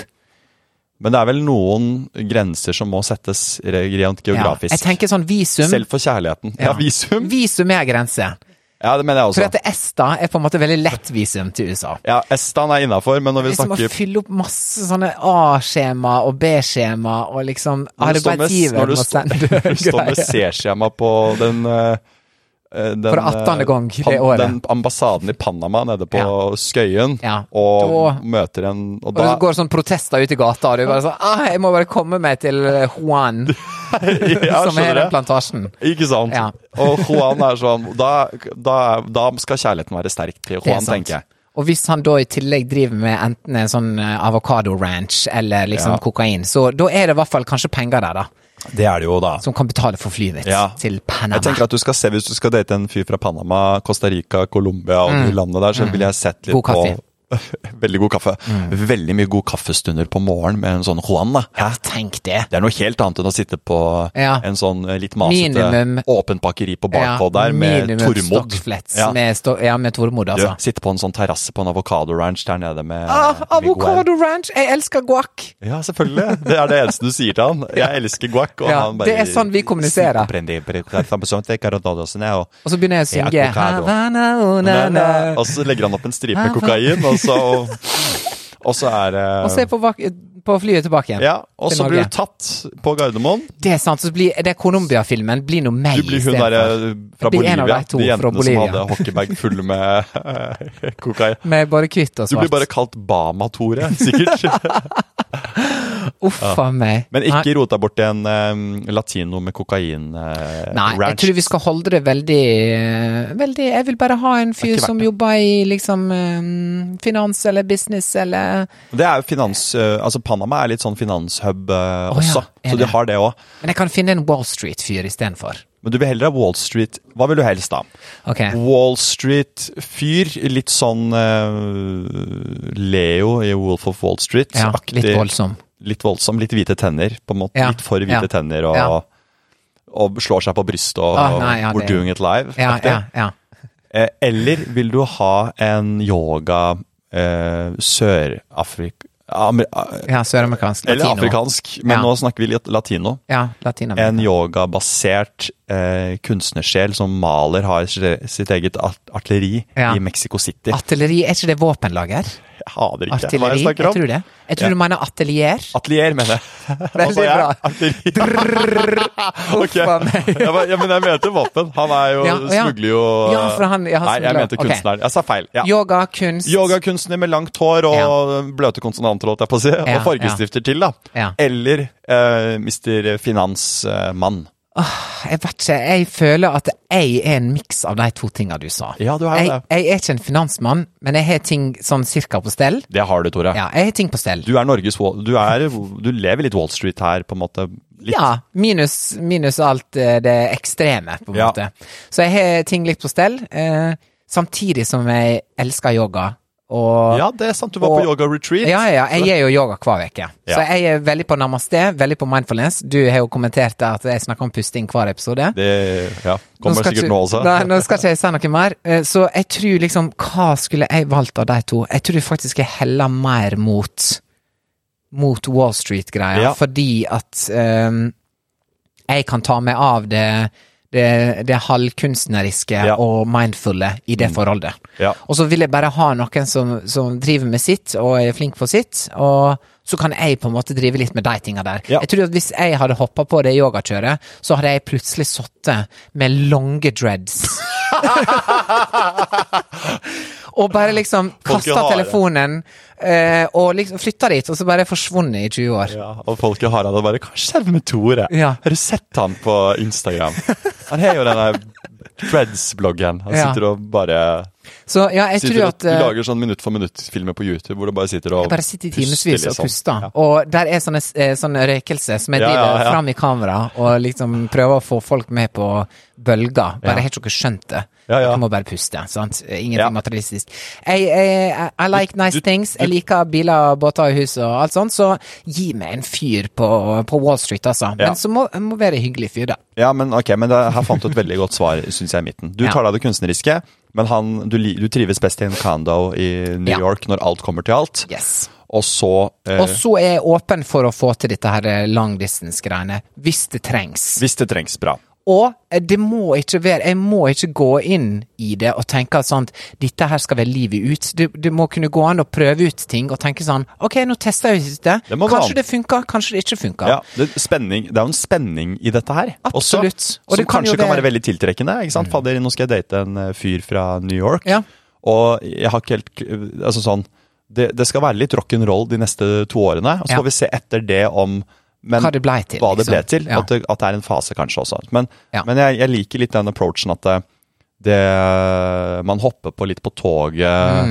S3: Men det er vel noen grenser som må settes rent
S2: Ja.
S3: geografisk.
S2: Jeg tenker sånn visum.
S3: Selv for kjærligheten. Ja, visum!
S2: Visum er grense.
S3: Ja, det mener jeg
S2: For
S3: også.
S2: at ESTA er på en måte veldig lett visum til USA.
S3: Ja, Estan er innafor, men når vi
S2: Liksom å
S3: snakker
S2: fylle opp masse sånne A-skjema og B-skjema, og liksom
S3: Når du står med- når
S2: arbeidsgiver
S3: du
S2: må
S3: står-
S2: sende
S3: Du står med
S2: greier.
S3: C-skjema på den eh, eh, den,
S2: For 18.
S3: eh,
S2: gang i
S3: pan-
S2: året.
S3: Den ambassaden i Panama nede på
S2: Ja.
S3: Skøyen,
S2: Ja.
S3: og
S2: Da-
S3: møter en Og
S2: Og
S3: da
S2: det går sånn protester ute i gata, og du bare sånn ah, 'Jeg må bare komme meg til eh, Juan,
S3: Ja,
S2: som
S3: skjønner
S2: er den
S3: jeg.
S2: plantasjen'.
S3: Ikke sant?
S2: Ja.
S3: Og Juan er sånn da, da, da skal kjærligheten være sterk til
S2: Det er
S3: Juan,
S2: sant.
S3: tenker jeg.
S2: Og hvis han da i tillegg driver med enten en sånn eh, avokado-ranch eller liksom
S3: Ja.
S2: kokain, så da er det i hvert fall kanskje penger der, da,
S3: Det er det jo, da.
S2: som kan betale for flyet mitt
S3: Ja.
S2: til Panama.
S3: Jeg tenker at du skal se, Hvis du skal date en fyr fra Panama, Costa Rica, Colombia og de landene der, så ville jeg sett litt
S2: God kaffe.
S3: på Veldig god kaffe. Veldig mye god kaffestunder på morgenen med en sånn Juan. da.
S2: Tenk det.
S3: Det er noe helt annet enn å sitte på
S2: Ja.
S3: en sånn eh, litt masete
S2: Minimum-
S3: åpent bakeri på bakhold
S2: Ja,
S3: der med
S2: minimum
S3: Tormod.
S2: stokkflets
S3: Ja.
S2: Med sto ja, med Tormod,
S3: Du,
S2: altså.
S3: sitte på en sånn terrasse på en avokado-ranch der nede med
S2: Ah,
S3: eh,
S2: avokado
S3: Miguel.
S2: ranch! Jeg elsker guac!
S3: Ja, selvfølgelig. Det er det eneste du sier til han. Jeg elsker guac. Og
S2: Ja,
S3: han bare,
S2: det er sånn vi kommuniserer.
S3: Prendi- pre- prendi- prendi- og-
S2: Og så begynner jeg å synge
S3: Ja, avokado.
S2: Havana, oh, na, na.
S3: eh, Og så legger han opp en stripe med kokain, og så, og så er det
S2: Og så er jeg på, vak- på flyet tilbake igjen.
S3: ja, og
S2: til
S3: så blir
S2: Norge.
S3: du tatt på Gardermoen.
S2: Det er sant. Så blir det Colombia-filmen blir noe meg
S3: Du blir hun
S2: istedenfor.
S3: derre fra
S2: blir en
S3: Bolivia.
S2: av de to
S3: de
S2: fra
S3: jentene som
S2: Bolivia.
S3: hadde hockeybag full med eh, kokain.
S2: Med bare hvitt og
S3: Du blir
S2: svart.
S3: bare kalt Bama-Tore, sikkert.
S2: Uff a meg.
S3: Men
S2: Nei.
S3: ikke rota bort i en eh, latino med kokain eh,
S2: Nei, jeg
S3: ranch.
S2: tror vi skal holde det veldig eh, Veldig Jeg vil bare ha en fyr
S3: Ikke verdt
S2: som
S3: det.
S2: jobber i liksom eh, finans eller business eller
S3: Det er jo finans... eh, altså Panama er litt sånn finanshub eh,
S2: Å ja,
S3: også,
S2: er
S3: så
S2: det?
S3: de har det òg.
S2: Men jeg kan finne en Wall Street-fyr istedenfor.
S3: Men du vil heller ha Wall Street Hva vil du helst, da?
S2: Ok.
S3: Wall Street-fyr, litt sånn eh, Leo i Wolf of Wall Street.
S2: Ja,
S3: aktig.
S2: litt voldsom.
S3: Litt voldsom, litt hvite tenner, på en måte.
S2: Ja,
S3: Litt for hvite
S2: ja,
S3: tenner, og,
S2: ja.
S3: og slår seg på brystet og
S2: Ah, nei, ja,
S3: We're
S2: det-
S3: doing it live.
S2: Ja,
S3: aktig.
S2: ja, ja.
S3: Eh, Eller vil du ha en yoga eh, Sør-Afrika amer-
S2: Ja, søramerikansk.
S3: eller
S2: Latino.
S3: afrikansk, men
S2: Ja.
S3: nå snakker vi litt latino.
S2: Ja, Latinamerika.
S3: En yogabasert eh, kunstnersjel som maler, har sitt sitt eget art artilleri
S2: Ja.
S3: i Mexico City.
S2: Artilleri, er ikke det våpenlager?
S3: Jeg aner ikke hva
S2: Artilleri?
S3: jeg
S2: Jeg,
S3: snakker om.
S2: tror det. Jeg tror
S3: Ja.
S2: du mener atelier.
S3: Atelier, mener jeg. Hva sa
S2: Veldig
S3: jeg?
S2: bra.
S3: Artilleri. Ok.
S2: Uff a meg.
S3: Jeg var- Ja, men jeg mente våpen. Han er jo,
S2: Ja, ja.
S3: smugler jo
S2: Ja, for han- ja, han
S3: Nei, jeg
S2: smugler.
S3: mente
S2: Ok.
S3: kunstneren. Jeg sa feil. Ja.
S2: Yoga, kunst
S3: Yogakunstner med langt hår og bløte konsonanter, holdt jeg på å si.
S2: Ja,
S3: og fargestifter til, da.
S2: Ja.
S3: Eller eh, Mr. Finansmann.
S2: Jeg vet ikke, jeg føler at jeg er en miks av de to tinga du sa.
S3: Ja, du er jo
S2: jeg,
S3: det.
S2: jeg er ikke en finansmann, men jeg har ting sånn cirka på stell.
S3: Det har du, Tore.
S2: Ja, jeg har ting på stell.
S3: Du er Norges Wall... Du, er, du lever litt Wall Street her, på en måte. Litt.
S2: Ja, minus, minus alt eh, det ekstreme, på en
S3: Ja.
S2: måte. Så jeg har ting litt på stell, eh, samtidig som jeg elsker yoga. Og
S3: Ja, det er sant. Du var
S2: Og-
S3: på yoga retreat.
S2: Ja, ja, ja. Jeg gjør jo yoga hver uke. Så
S3: Ja.
S2: jeg er veldig på namaste, veldig på mindfulness. Du har jo kommentert at jeg snakker om pusting hver episode.
S3: Det ja,
S2: Nå
S3: kommer
S2: skal
S3: sikkert
S2: ikke-
S3: nå også.
S2: Nei, nå skal ikke jeg si noe mer. Eh, Så jeg tror liksom Hva skulle jeg valgt av de to? Jeg tror faktisk jeg heller mer mot Mot Wall Street-greia,
S3: Ja.
S2: fordi at ehm, jeg kan ta meg av det det, det halvkunstneriske
S3: Ja. Mm.
S2: og mindfulle i det forholdet.
S3: Ja.
S2: Og så vil jeg bare ha noen som, som driver med sitt, og er flink for sitt, og så kan jeg på en måte drive litt med de tinga der.
S3: Ja.
S2: Jeg tror at hvis jeg hadde hoppa på det yogakjøret, så hadde jeg plutselig sittet med lange dreads. og bare liksom
S3: Folk er
S2: kasta
S3: harde.
S2: telefonen, eh, og liksom flytta dit, og så bare forsvunnet i 20 år.
S3: Ja, og folk i Harald bare Hva skjedde med Tore?
S2: Ja.
S3: Har du sett han på Instagram? Han har jo den der Freds-bloggen. Han
S2: Ja.
S3: sitter og bare
S2: Så ja, jeg
S3: sitter
S2: tror
S3: og
S2: at eh,
S3: lager sånn minutt for minutt-filmer på YouTube hvor du bare sitter og
S2: jeg bare sitter i timevis
S3: puster,
S2: og
S3: liksom.
S2: puster.
S3: Ja.
S2: Og der er sånne, eh, sånne røykelse som jeg
S3: Ja,
S2: driver
S3: ja, ja.
S2: fram i kamera og liksom prøver å få folk med på bølger. Bare jeg har ikke skjønt det.
S3: Ja, ja.
S2: Jeg må bare puste. sant? Ingenting
S3: Ja.
S2: materialistisk. Jeg, jeg, I, I like nice
S3: du-
S2: things. Jeg
S3: du-
S2: liker biler, båter og hus og alt sånt. Så gi meg en fyr på, på Wall Street, altså.
S3: Ja.
S2: Men så må, må være en hyggelig fyr, da.
S3: Ja, men ok, men det, her fant du et veldig godt svar, syns jeg, i midten. Du
S2: Ja.
S3: tar deg av det kunstneriske, men han, du, li- du trives best i en condo i New
S2: Ja.
S3: York når alt kommer til alt.
S2: Yes.
S3: Og så eh,
S2: Og så er jeg åpen for å få til dette her eh, long distance-greiene, hvis det trengs.
S3: Hvis det trengs, bra.
S2: Og det må ikke være Jeg må ikke gå inn i det og tenke at sånn Dette her skal være livet ut. Det, det må kunne gå an å prøve ut ting og tenke sånn Ok, nå tester jeg ut det.
S3: Det må gå an.
S2: kanskje det funker, kanskje det ikke funker.
S3: Ja, det, spenning, det er jo en spenning i dette her. også,
S2: Absolutt. Og
S3: som
S2: det kan jo
S3: kanskje kan
S2: være-
S3: være veldig tiltrekkende. ikke sant? Fader, nå skal jeg date en eh, fyr fra New York,
S2: Ja.
S3: og jeg har ikke helt k- altså sånn, det, det skal være litt rock'n'roll de neste to årene, og så
S2: Ja.
S3: får vi se etter det om men,
S2: Hva det blei til,
S3: hva det
S2: liksom.
S3: ble til
S2: Ja.
S3: at, det, at det er en fase, kanskje også. Men,
S2: Ja.
S3: men jeg, jeg liker litt den approachen at det, det Man hopper på litt på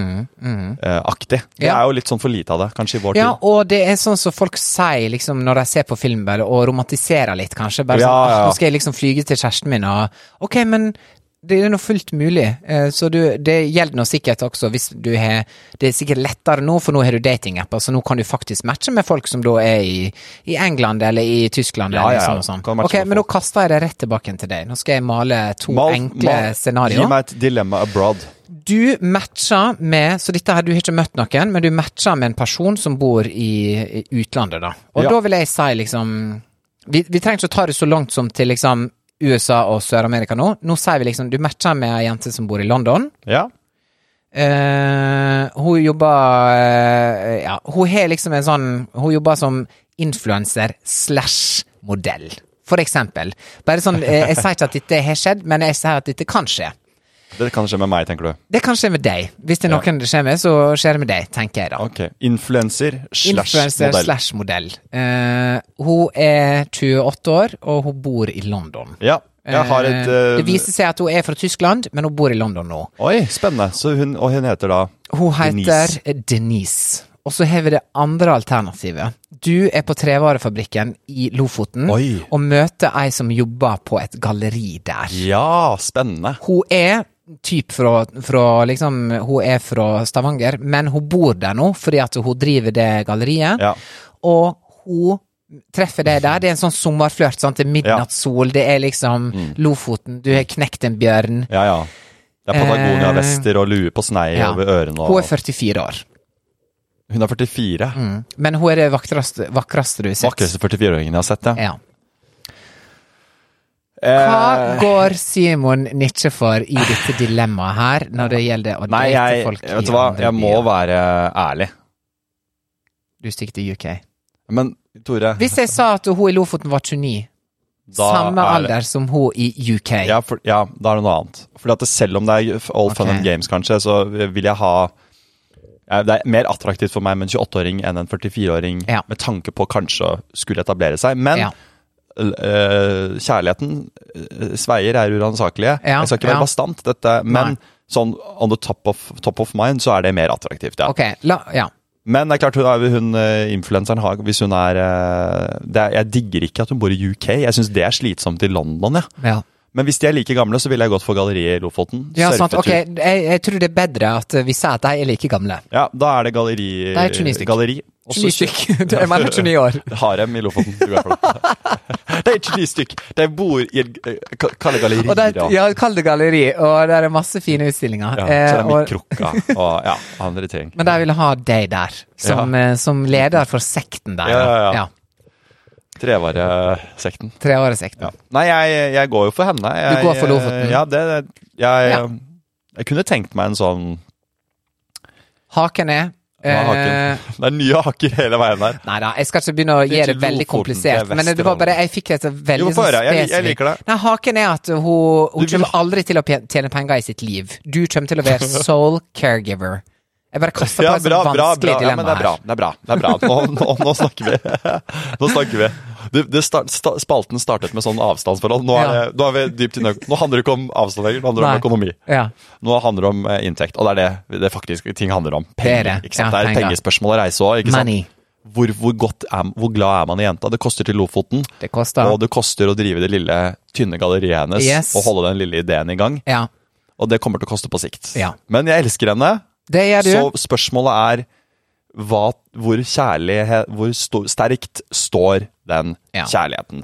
S3: toget-aktig. det
S2: Mm, Ja.
S3: er jo litt sånn for lite av det, kanskje, i vår
S2: Ja,
S3: tid.
S2: og det er sånn som folk sier liksom, når de ser på film bare, og romantiserer litt, kanskje. Bare
S3: Ja,
S2: sånn,
S3: ja,
S2: «Ah,
S3: ja.
S2: Nå skal jeg liksom flyge til kjæresten min og Ok, men det er nå fullt mulig, eh, så du, det gjelder nå sikkert også hvis du har Det er sikkert lettere nå, for nå har du datingapper, så nå kan du faktisk matche med folk som da er i, i England eller i Tyskland.
S3: Ja,
S2: eller
S3: ja, ja.
S2: sånn og sånn.
S3: Kan matche
S2: Ok,
S3: med
S2: men nå
S3: folk.
S2: kaster jeg det rett tilbake igjen til deg. Nå skal jeg male to
S3: Mal-
S2: enkle
S3: mal- Gi
S2: scenarioer.
S3: meg et dilemma abroad.
S2: Du matcher med Så dette her, du har ikke møtt noen, men du matcher med en person som bor i, i utlandet, da. Og
S3: Ja.
S2: da vil jeg si liksom vi, vi trenger ikke å ta det så langt som til liksom USA og Sør-Amerika nå. Nå sier vi liksom du matcher med ei jente som bor i London.
S3: Ja.
S2: Eh, hun jobber eh, Ja, hun har liksom en sånn Hun jobber som influenser slash modell, for eksempel. Bare sånn eh, Jeg sier ikke at dette har skjedd, men jeg sier at dette kan skje.
S3: Det kan skje med meg, tenker du.
S2: Det kan skje med deg. Hvis det er noen det skjer med, så skjer det med deg, tenker jeg da.
S3: Ok, Influenser slash
S2: Influencer
S3: modell.
S2: slash modell. Eh, hun er 28 år, og hun bor i London.
S3: Ja, jeg har et eh,
S2: Eh, det viser seg at hun er fra Tyskland, men hun bor i London nå.
S3: Oi, spennende. Så hun, og hun heter da
S2: Hun heter
S3: Denise.
S2: Denise. Og så har vi det andre alternativet. Du er på trevarefabrikken i Lofoten
S3: Oi.
S2: og møter ei som jobber på et galleri der.
S3: Ja, spennende.
S2: Hun er typ fra, fra liksom, Hun er fra Stavanger, men hun bor der nå fordi at hun driver det galleriet.
S3: Ja.
S2: Og hun treffer deg der. Det er en sånn sommerflørt. sant? Det er midnattssol, det er liksom
S3: Mm.
S2: Lofoten, du har knekt en bjørn.
S3: Ja, ja. Det er
S2: Eh,
S3: Patagonia-vester og lue på snei
S2: ja.
S3: over ørene og
S2: Hun er 44 år.
S3: Hun er 44.
S2: Mm. Men hun er det vakreste, vakreste du har sett.
S3: Vakreste 44-åringen jeg har sett, ja.
S2: Ja.
S3: Eh,
S2: Hva går Simon Nietzsche for i dette dilemmaet her, når det gjelder å
S3: Nei,
S2: date
S3: jeg,
S2: folk i
S3: vet du hva,
S2: andre
S3: jeg må
S2: byer?
S3: være ærlig.
S2: Du stikker til UK.
S3: Men Tore
S2: Hvis jeg sa at hun i Lofoten var 29,
S3: da
S2: samme
S3: er-
S2: alder som hun i UK
S3: Ja, for, ja, da er det noe annet. Fordi at det, selv om det er all fun
S2: Ok.
S3: and games, kanskje, så vil jeg ha eh, Det er mer attraktivt for meg med en 28-åring enn en 44-åring
S2: Ja.
S3: med tanke på kanskje å skulle etablere seg. Men
S2: Ja.
S3: l- eh, kjærligheten eh, sveier er uransakelige.
S2: Ja,
S3: Jeg skal ikke være
S2: ja.
S3: bastant, dette, men
S2: Nei.
S3: sånn on the top of, top of mind, så er det mer attraktivt, ja.
S2: Ok, la, ja.
S3: Men det er klart, hun, er- hun eh, influenseren har Hvis hun er, eh, det er Jeg digger ikke at hun bor i UK. Jeg syns det er slitsomt i London, ja.
S2: ja.
S3: Men hvis de er like gamle, så ville jeg gått for galleriet i Lofoten.
S2: Ja, sant.
S3: Surfetur.
S2: Ok, jeg, jeg tror det er bedre at vi sier at de er like gamle.
S3: Ja, da er det galleri.
S2: Det er 29 stykk.
S3: Galleri. Også
S2: 29 stykk. Du er mer enn 29 år.
S3: Harem i Lofoten. Du går for det. det er 29 stykk. De bor i en eh, ka- Kall det galleri,
S2: Og det er,
S3: da.
S2: ja, kall det galleri, og der er masse fine utstillinger.
S3: Ja,
S2: Eh,
S3: så det er
S2: og-
S3: mikrokrukka og ja, andre ting.
S2: men de ville ha deg der, som,
S3: Ja.
S2: eh, som leder for sekten der.
S3: Ja, ja, ja.
S2: ja
S3: Trevaresekten.
S2: Treåressekten.
S3: Ja. Nei, jeg, jeg går jo for henne. Jeg,
S2: går for Lofoten.
S3: Ja, det jeg, jeg,
S2: Ja.
S3: kunne tenkt meg en sånn
S2: Haken er
S3: Hva er
S2: eh,
S3: haken? Det er nye haker hele veien her.
S2: Nei da, jeg skal ikke begynne å
S3: Det er
S2: gjøre det
S3: ikke Lofoten,
S2: veldig
S3: det er
S2: komplisert. Men det var
S3: Vesterålen.
S2: bare, jeg fikk et veldig
S3: Jo, få
S2: sånn
S3: høre. Jeg- jeg
S2: spesifikt-
S3: liker det.
S2: Nei, Haken er at hun, hun
S3: Du vil-
S2: kommer aldri til å pe- tjene penger i sitt liv. Du kommer til å være soul caregiver. Jeg bare kaster på
S3: Ja,
S2: et sånt
S3: bra, bra,
S2: vanskelig
S3: bra. Ja,
S2: dilemma
S3: men det er bra.
S2: her.
S3: Det er bra. Det er bra. Nå, nå, nå snakker vi. Nå snakker vi. Du, det start, sta, spalten startet med sånn avstandsforhold. Nå, er,
S2: Ja.
S3: det- nå, er vi dypt inne. nå handler det ikke om avstand lenger, nå handler det om
S2: Nei.
S3: økonomi.
S2: Ja.
S3: Nå handler det om eh, inntekt, og det er det det faktisk ting handler om. Penger.
S2: Det er det.
S3: Ikke sant?
S2: Ja,
S3: det er et
S2: penger.
S3: pengespørsmål å reise òg.
S2: Money.
S3: Hvor, hvor, godt er, hvor glad er man i jenta? Det koster til Lofoten.
S2: Det koster.
S3: Og det koster å drive det lille, tynne galleriet hennes
S2: Yes.
S3: og holde den lille ideen i gang.
S2: Ja.
S3: Og det kommer til å koste på sikt.
S2: Ja.
S3: Men jeg elsker henne.
S2: Det gjør du.
S3: Så spørsmålet er hva, hvor kjærlighet Hvor sto, sterkt står den
S2: Ja.
S3: kjærligheten?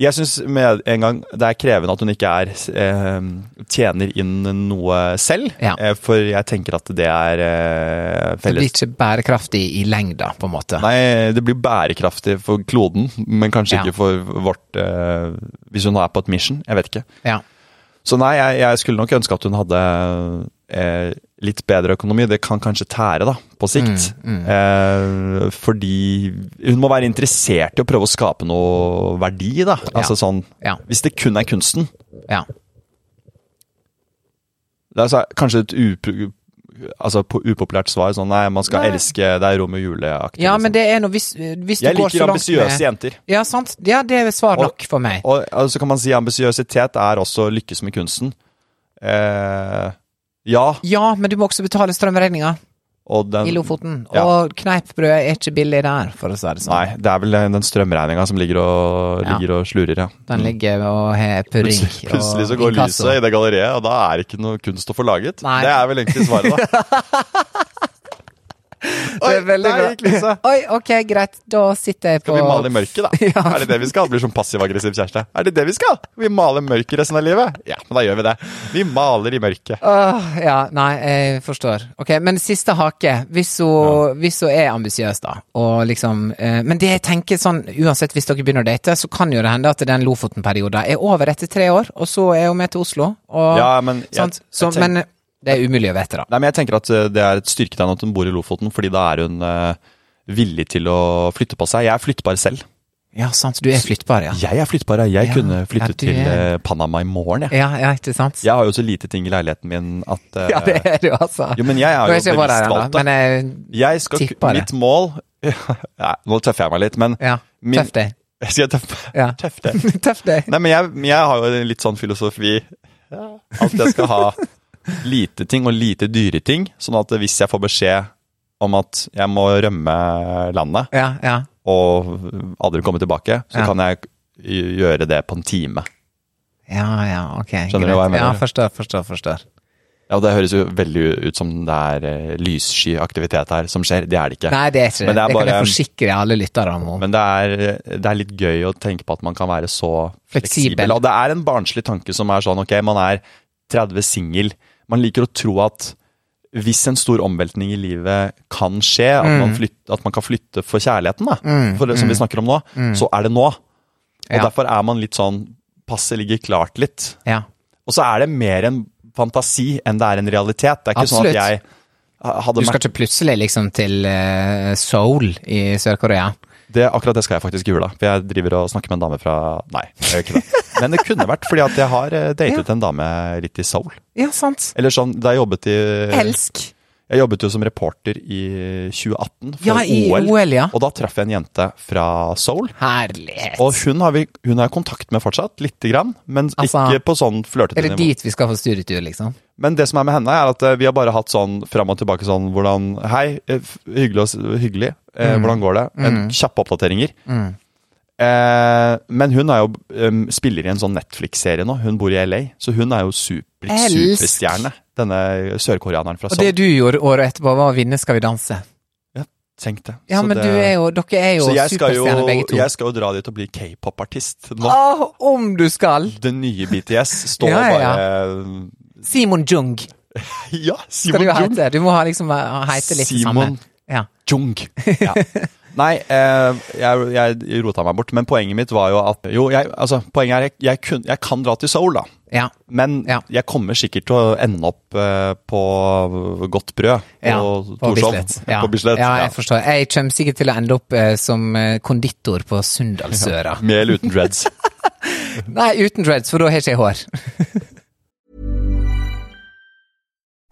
S3: Jeg syns med en gang det er krevende at hun ikke er eh, tjener inn noe selv.
S2: Ja.
S3: Eh, for jeg tenker at det er eh,
S2: det blir
S3: felles
S2: ikke bærekraftig i lengda, på en måte.
S3: Nei, det blir bærekraftig for kloden, men kanskje
S2: Ja.
S3: ikke for vårt eh, Hvis hun er på et mission. Jeg vet ikke.
S2: Ja.
S3: Så nei, jeg, jeg skulle nok ønske at hun hadde eh, litt bedre økonomi. Det kan kanskje tære, da, på sikt.
S2: Mm,
S3: Eh, fordi hun må være interessert i å prøve å skape noe verdi, da. Altså sånn
S2: Ja.
S3: Hvis det kun er kunsten,
S2: ja.
S3: det er altså, kanskje et upro... Altså på upopulært svar sånn nei, man skal elske Det er Romeo og Julie-aktig.
S2: ja,
S3: liksom.
S2: men det er noe hvis, hvis du
S3: jeg
S2: går så
S3: liker
S2: langt
S3: ambisiøse
S2: med
S3: jenter.
S2: Ja, sant. Ja, det er svar
S3: Og-
S2: nok for meg.
S3: Og, og så kan man si ambisiøsitet er også å lykkes med kunsten. Eh, ja,
S2: Ja, men du må også betale strømregninga
S3: og den
S2: i Lofoten.
S3: Ja.
S2: Og kneippbrød er ikke billig der, for å si det sånn.
S3: Nei, det er vel den strømregninga som ligger og,
S2: Ja.
S3: ligger og slurer, ja.
S2: Den ligger og har purring.
S3: Plutselig,
S2: og
S3: plutselig så går
S2: inkasso.
S3: lyset i det galleriet, og da er det ikke noe kunst å få laget.
S2: Nei.
S3: Det er vel egentlig svaret, da. Oi,
S2: Det er veldig
S3: der
S2: bra.
S3: gikk lyset.
S2: Oi, ok, greit. Da sitter jeg på
S3: Skal vi male i mørket, da?
S2: Ja.
S3: Er det det vi skal? Blir som passiv-aggressiv kjæreste. Er det det vi skal? Vi maler mørket resten av livet? Ja, men da gjør vi det. Vi maler i mørket.
S2: Åh, ja, nei, jeg forstår. Ok, Men siste hake. Hvis hun, hvis hun er ambisiøs, da, og liksom eh, Men det jeg tenker sånn, uansett hvis dere begynner å date, så kan jo det hende at den Lofoten-perioden er over etter tre år, og så er hun med til Oslo. Og,
S3: Ja, men jeg-
S2: sant?
S3: jeg
S2: Så,
S3: tenk-
S2: men det er umulig å vite, da.
S3: Nei, men jeg tenker at eh, det er et styrketegn at hun bor i Lofoten, fordi da er hun eh, villig til å flytte på seg. Jeg er flyttbar selv.
S2: Ja, sant. Du er flyttbar, ja.
S3: Jeg er flyttbar, jeg. Jeg
S2: Ja,
S3: kunne
S2: ja,
S3: flytte
S2: du
S3: til
S2: er-
S3: eh, Panama i morgen, jeg.
S2: Ja, ja ikke sant?
S3: Jeg har jo så lite ting i leiligheten min at eh,
S2: Ja, det er du, altså.
S3: Jo, men jeg er
S2: Nå
S3: jo
S2: jeg ikke vært
S3: bevisst
S2: der ennå,
S3: valgt, da.
S2: Men jeg,
S3: Jeg skal ku-
S2: tipper det.
S3: Mitt mål Nei, Nå tøffer jeg meg litt, men
S2: ja,
S3: Min-
S2: tøff deg.
S3: Skal jeg tøffe?
S2: Ja.
S3: Tøff det.
S2: Tøff deg.
S3: Nei, men jeg, men jeg har jo en litt sånn filosofi at jeg skal ha lite ting og lite dyre ting, sånn at hvis jeg får beskjed om at jeg må rømme landet
S2: Ja, ja.
S3: og aldri komme tilbake, så
S2: Ja.
S3: kan jeg gjøre det på en time.
S2: Ja, ja, ok.
S3: Skjønner du
S2: greit.
S3: hva jeg mener?
S2: Ja, forstår, forstår, forstår.
S3: Ja, Det høres jo veldig ut som det er eh, lyssky aktivitet her som skjer. Det er det ikke.
S2: Nei, det er ikke det.
S3: Men det
S2: Det,
S3: er
S2: kan
S3: bare-
S2: jeg forsikre alle lyttere om.
S3: Men det er, eh, det er litt gøy å tenke på at man kan være så fleksibel.
S2: Fleksibel.
S3: Og det er en barnslig tanke som er sånn, ok, man er 30 singel. Man liker å tro at hvis en stor omveltning i livet kan skje, at,
S2: Mm.
S3: man, flyt, at man kan flytte for kjærligheten, da, for det som vi snakker om nå, så er det nå. Og
S2: Mm. Ja.
S3: derfor er man litt sånn Passet ligger klart litt.
S2: Ja.
S3: Og så er det mer en fantasi enn det er en realitet. Det er ikke
S2: Absolutt.
S3: sånn at jeg hadde
S2: Du skal
S3: merket-
S2: ikke plutselig liksom til eh, Seoul i Sør-Korea.
S3: det, Akkurat det skal jeg faktisk i jula. For jeg driver og snakker med en dame fra Nei, jeg gjør ikke det. Men det kunne vært fordi at jeg har eh, datet en dame litt i Seoul.
S2: Ja, sant.
S3: Eller sånn, da jeg jobbet i
S2: Elsk.
S3: Jeg jobbet jo som reporter i 2018 for
S2: Ja, i
S3: OL.
S2: OL, ja.
S3: Og da traff jeg en jente fra Seoul.
S2: Herlighet.
S3: Og hun har, vi, hun har jeg kontakt med fortsatt, lite grann. Men
S2: Altså,
S3: ikke på sånn
S2: Er
S3: flørtete
S2: det
S3: nivå.
S2: dit vi skal få studietur, liksom?
S3: Men det som er med henne, er at eh, vi har bare hatt sånn fram og tilbake sånn hvordan Hei, eh, f- hyggelig. å s- hyggelig. Eh,
S2: Mm.
S3: Hvordan går det? En, kjappe oppdateringer. Eh, men hun er jo em, spiller i en sånn Netflix-serie nå. Hun bor i LA, så hun er jo super,
S2: Elsk.
S3: superstjerne. Denne sørkoreaneren fra
S2: Og det
S3: Seoul.
S2: du gjorde året etterpå, var å vinne Skal vi danse.
S3: Tenk det.
S2: Ja,
S3: Så
S2: men
S3: det-
S2: du er jo, dere er jo
S3: så jeg skal jo,
S2: superstjerner, begge to.
S3: jeg skal jo dra dit og bli k-pop-artist nå.
S2: Åh, om du skal!
S3: Det nye BTS står
S2: Ja, ja, ja.
S3: bare
S2: Simon Jung
S3: Ja,
S2: skal
S3: Simon
S2: du jo
S3: Jung!
S2: hete. Du må ha liksom ha- hete litt det samme.
S3: Simon
S2: Ja.
S3: Jung. Ja. Nei, eh, jeg, jeg rota meg bort, men poenget mitt var jo at Jo, jeg, altså, poenget er jeg, jeg, kun, jeg kan dra til Seoul, da.
S2: ja.
S3: Men
S2: Ja.
S3: jeg kommer sikkert til å ende opp eh, på godt brød på
S2: Ja,
S3: Torshov.
S2: Bislett. Ja.
S3: På Bislett.
S2: Ja,
S3: ja.
S2: jeg forstår. Jeg kommer sikkert til å ende opp eh, som eh, konditor på Sunndalsøra.
S3: Med eller uten dreads.
S2: Nei, uten dreads, for da har ikke jeg hår.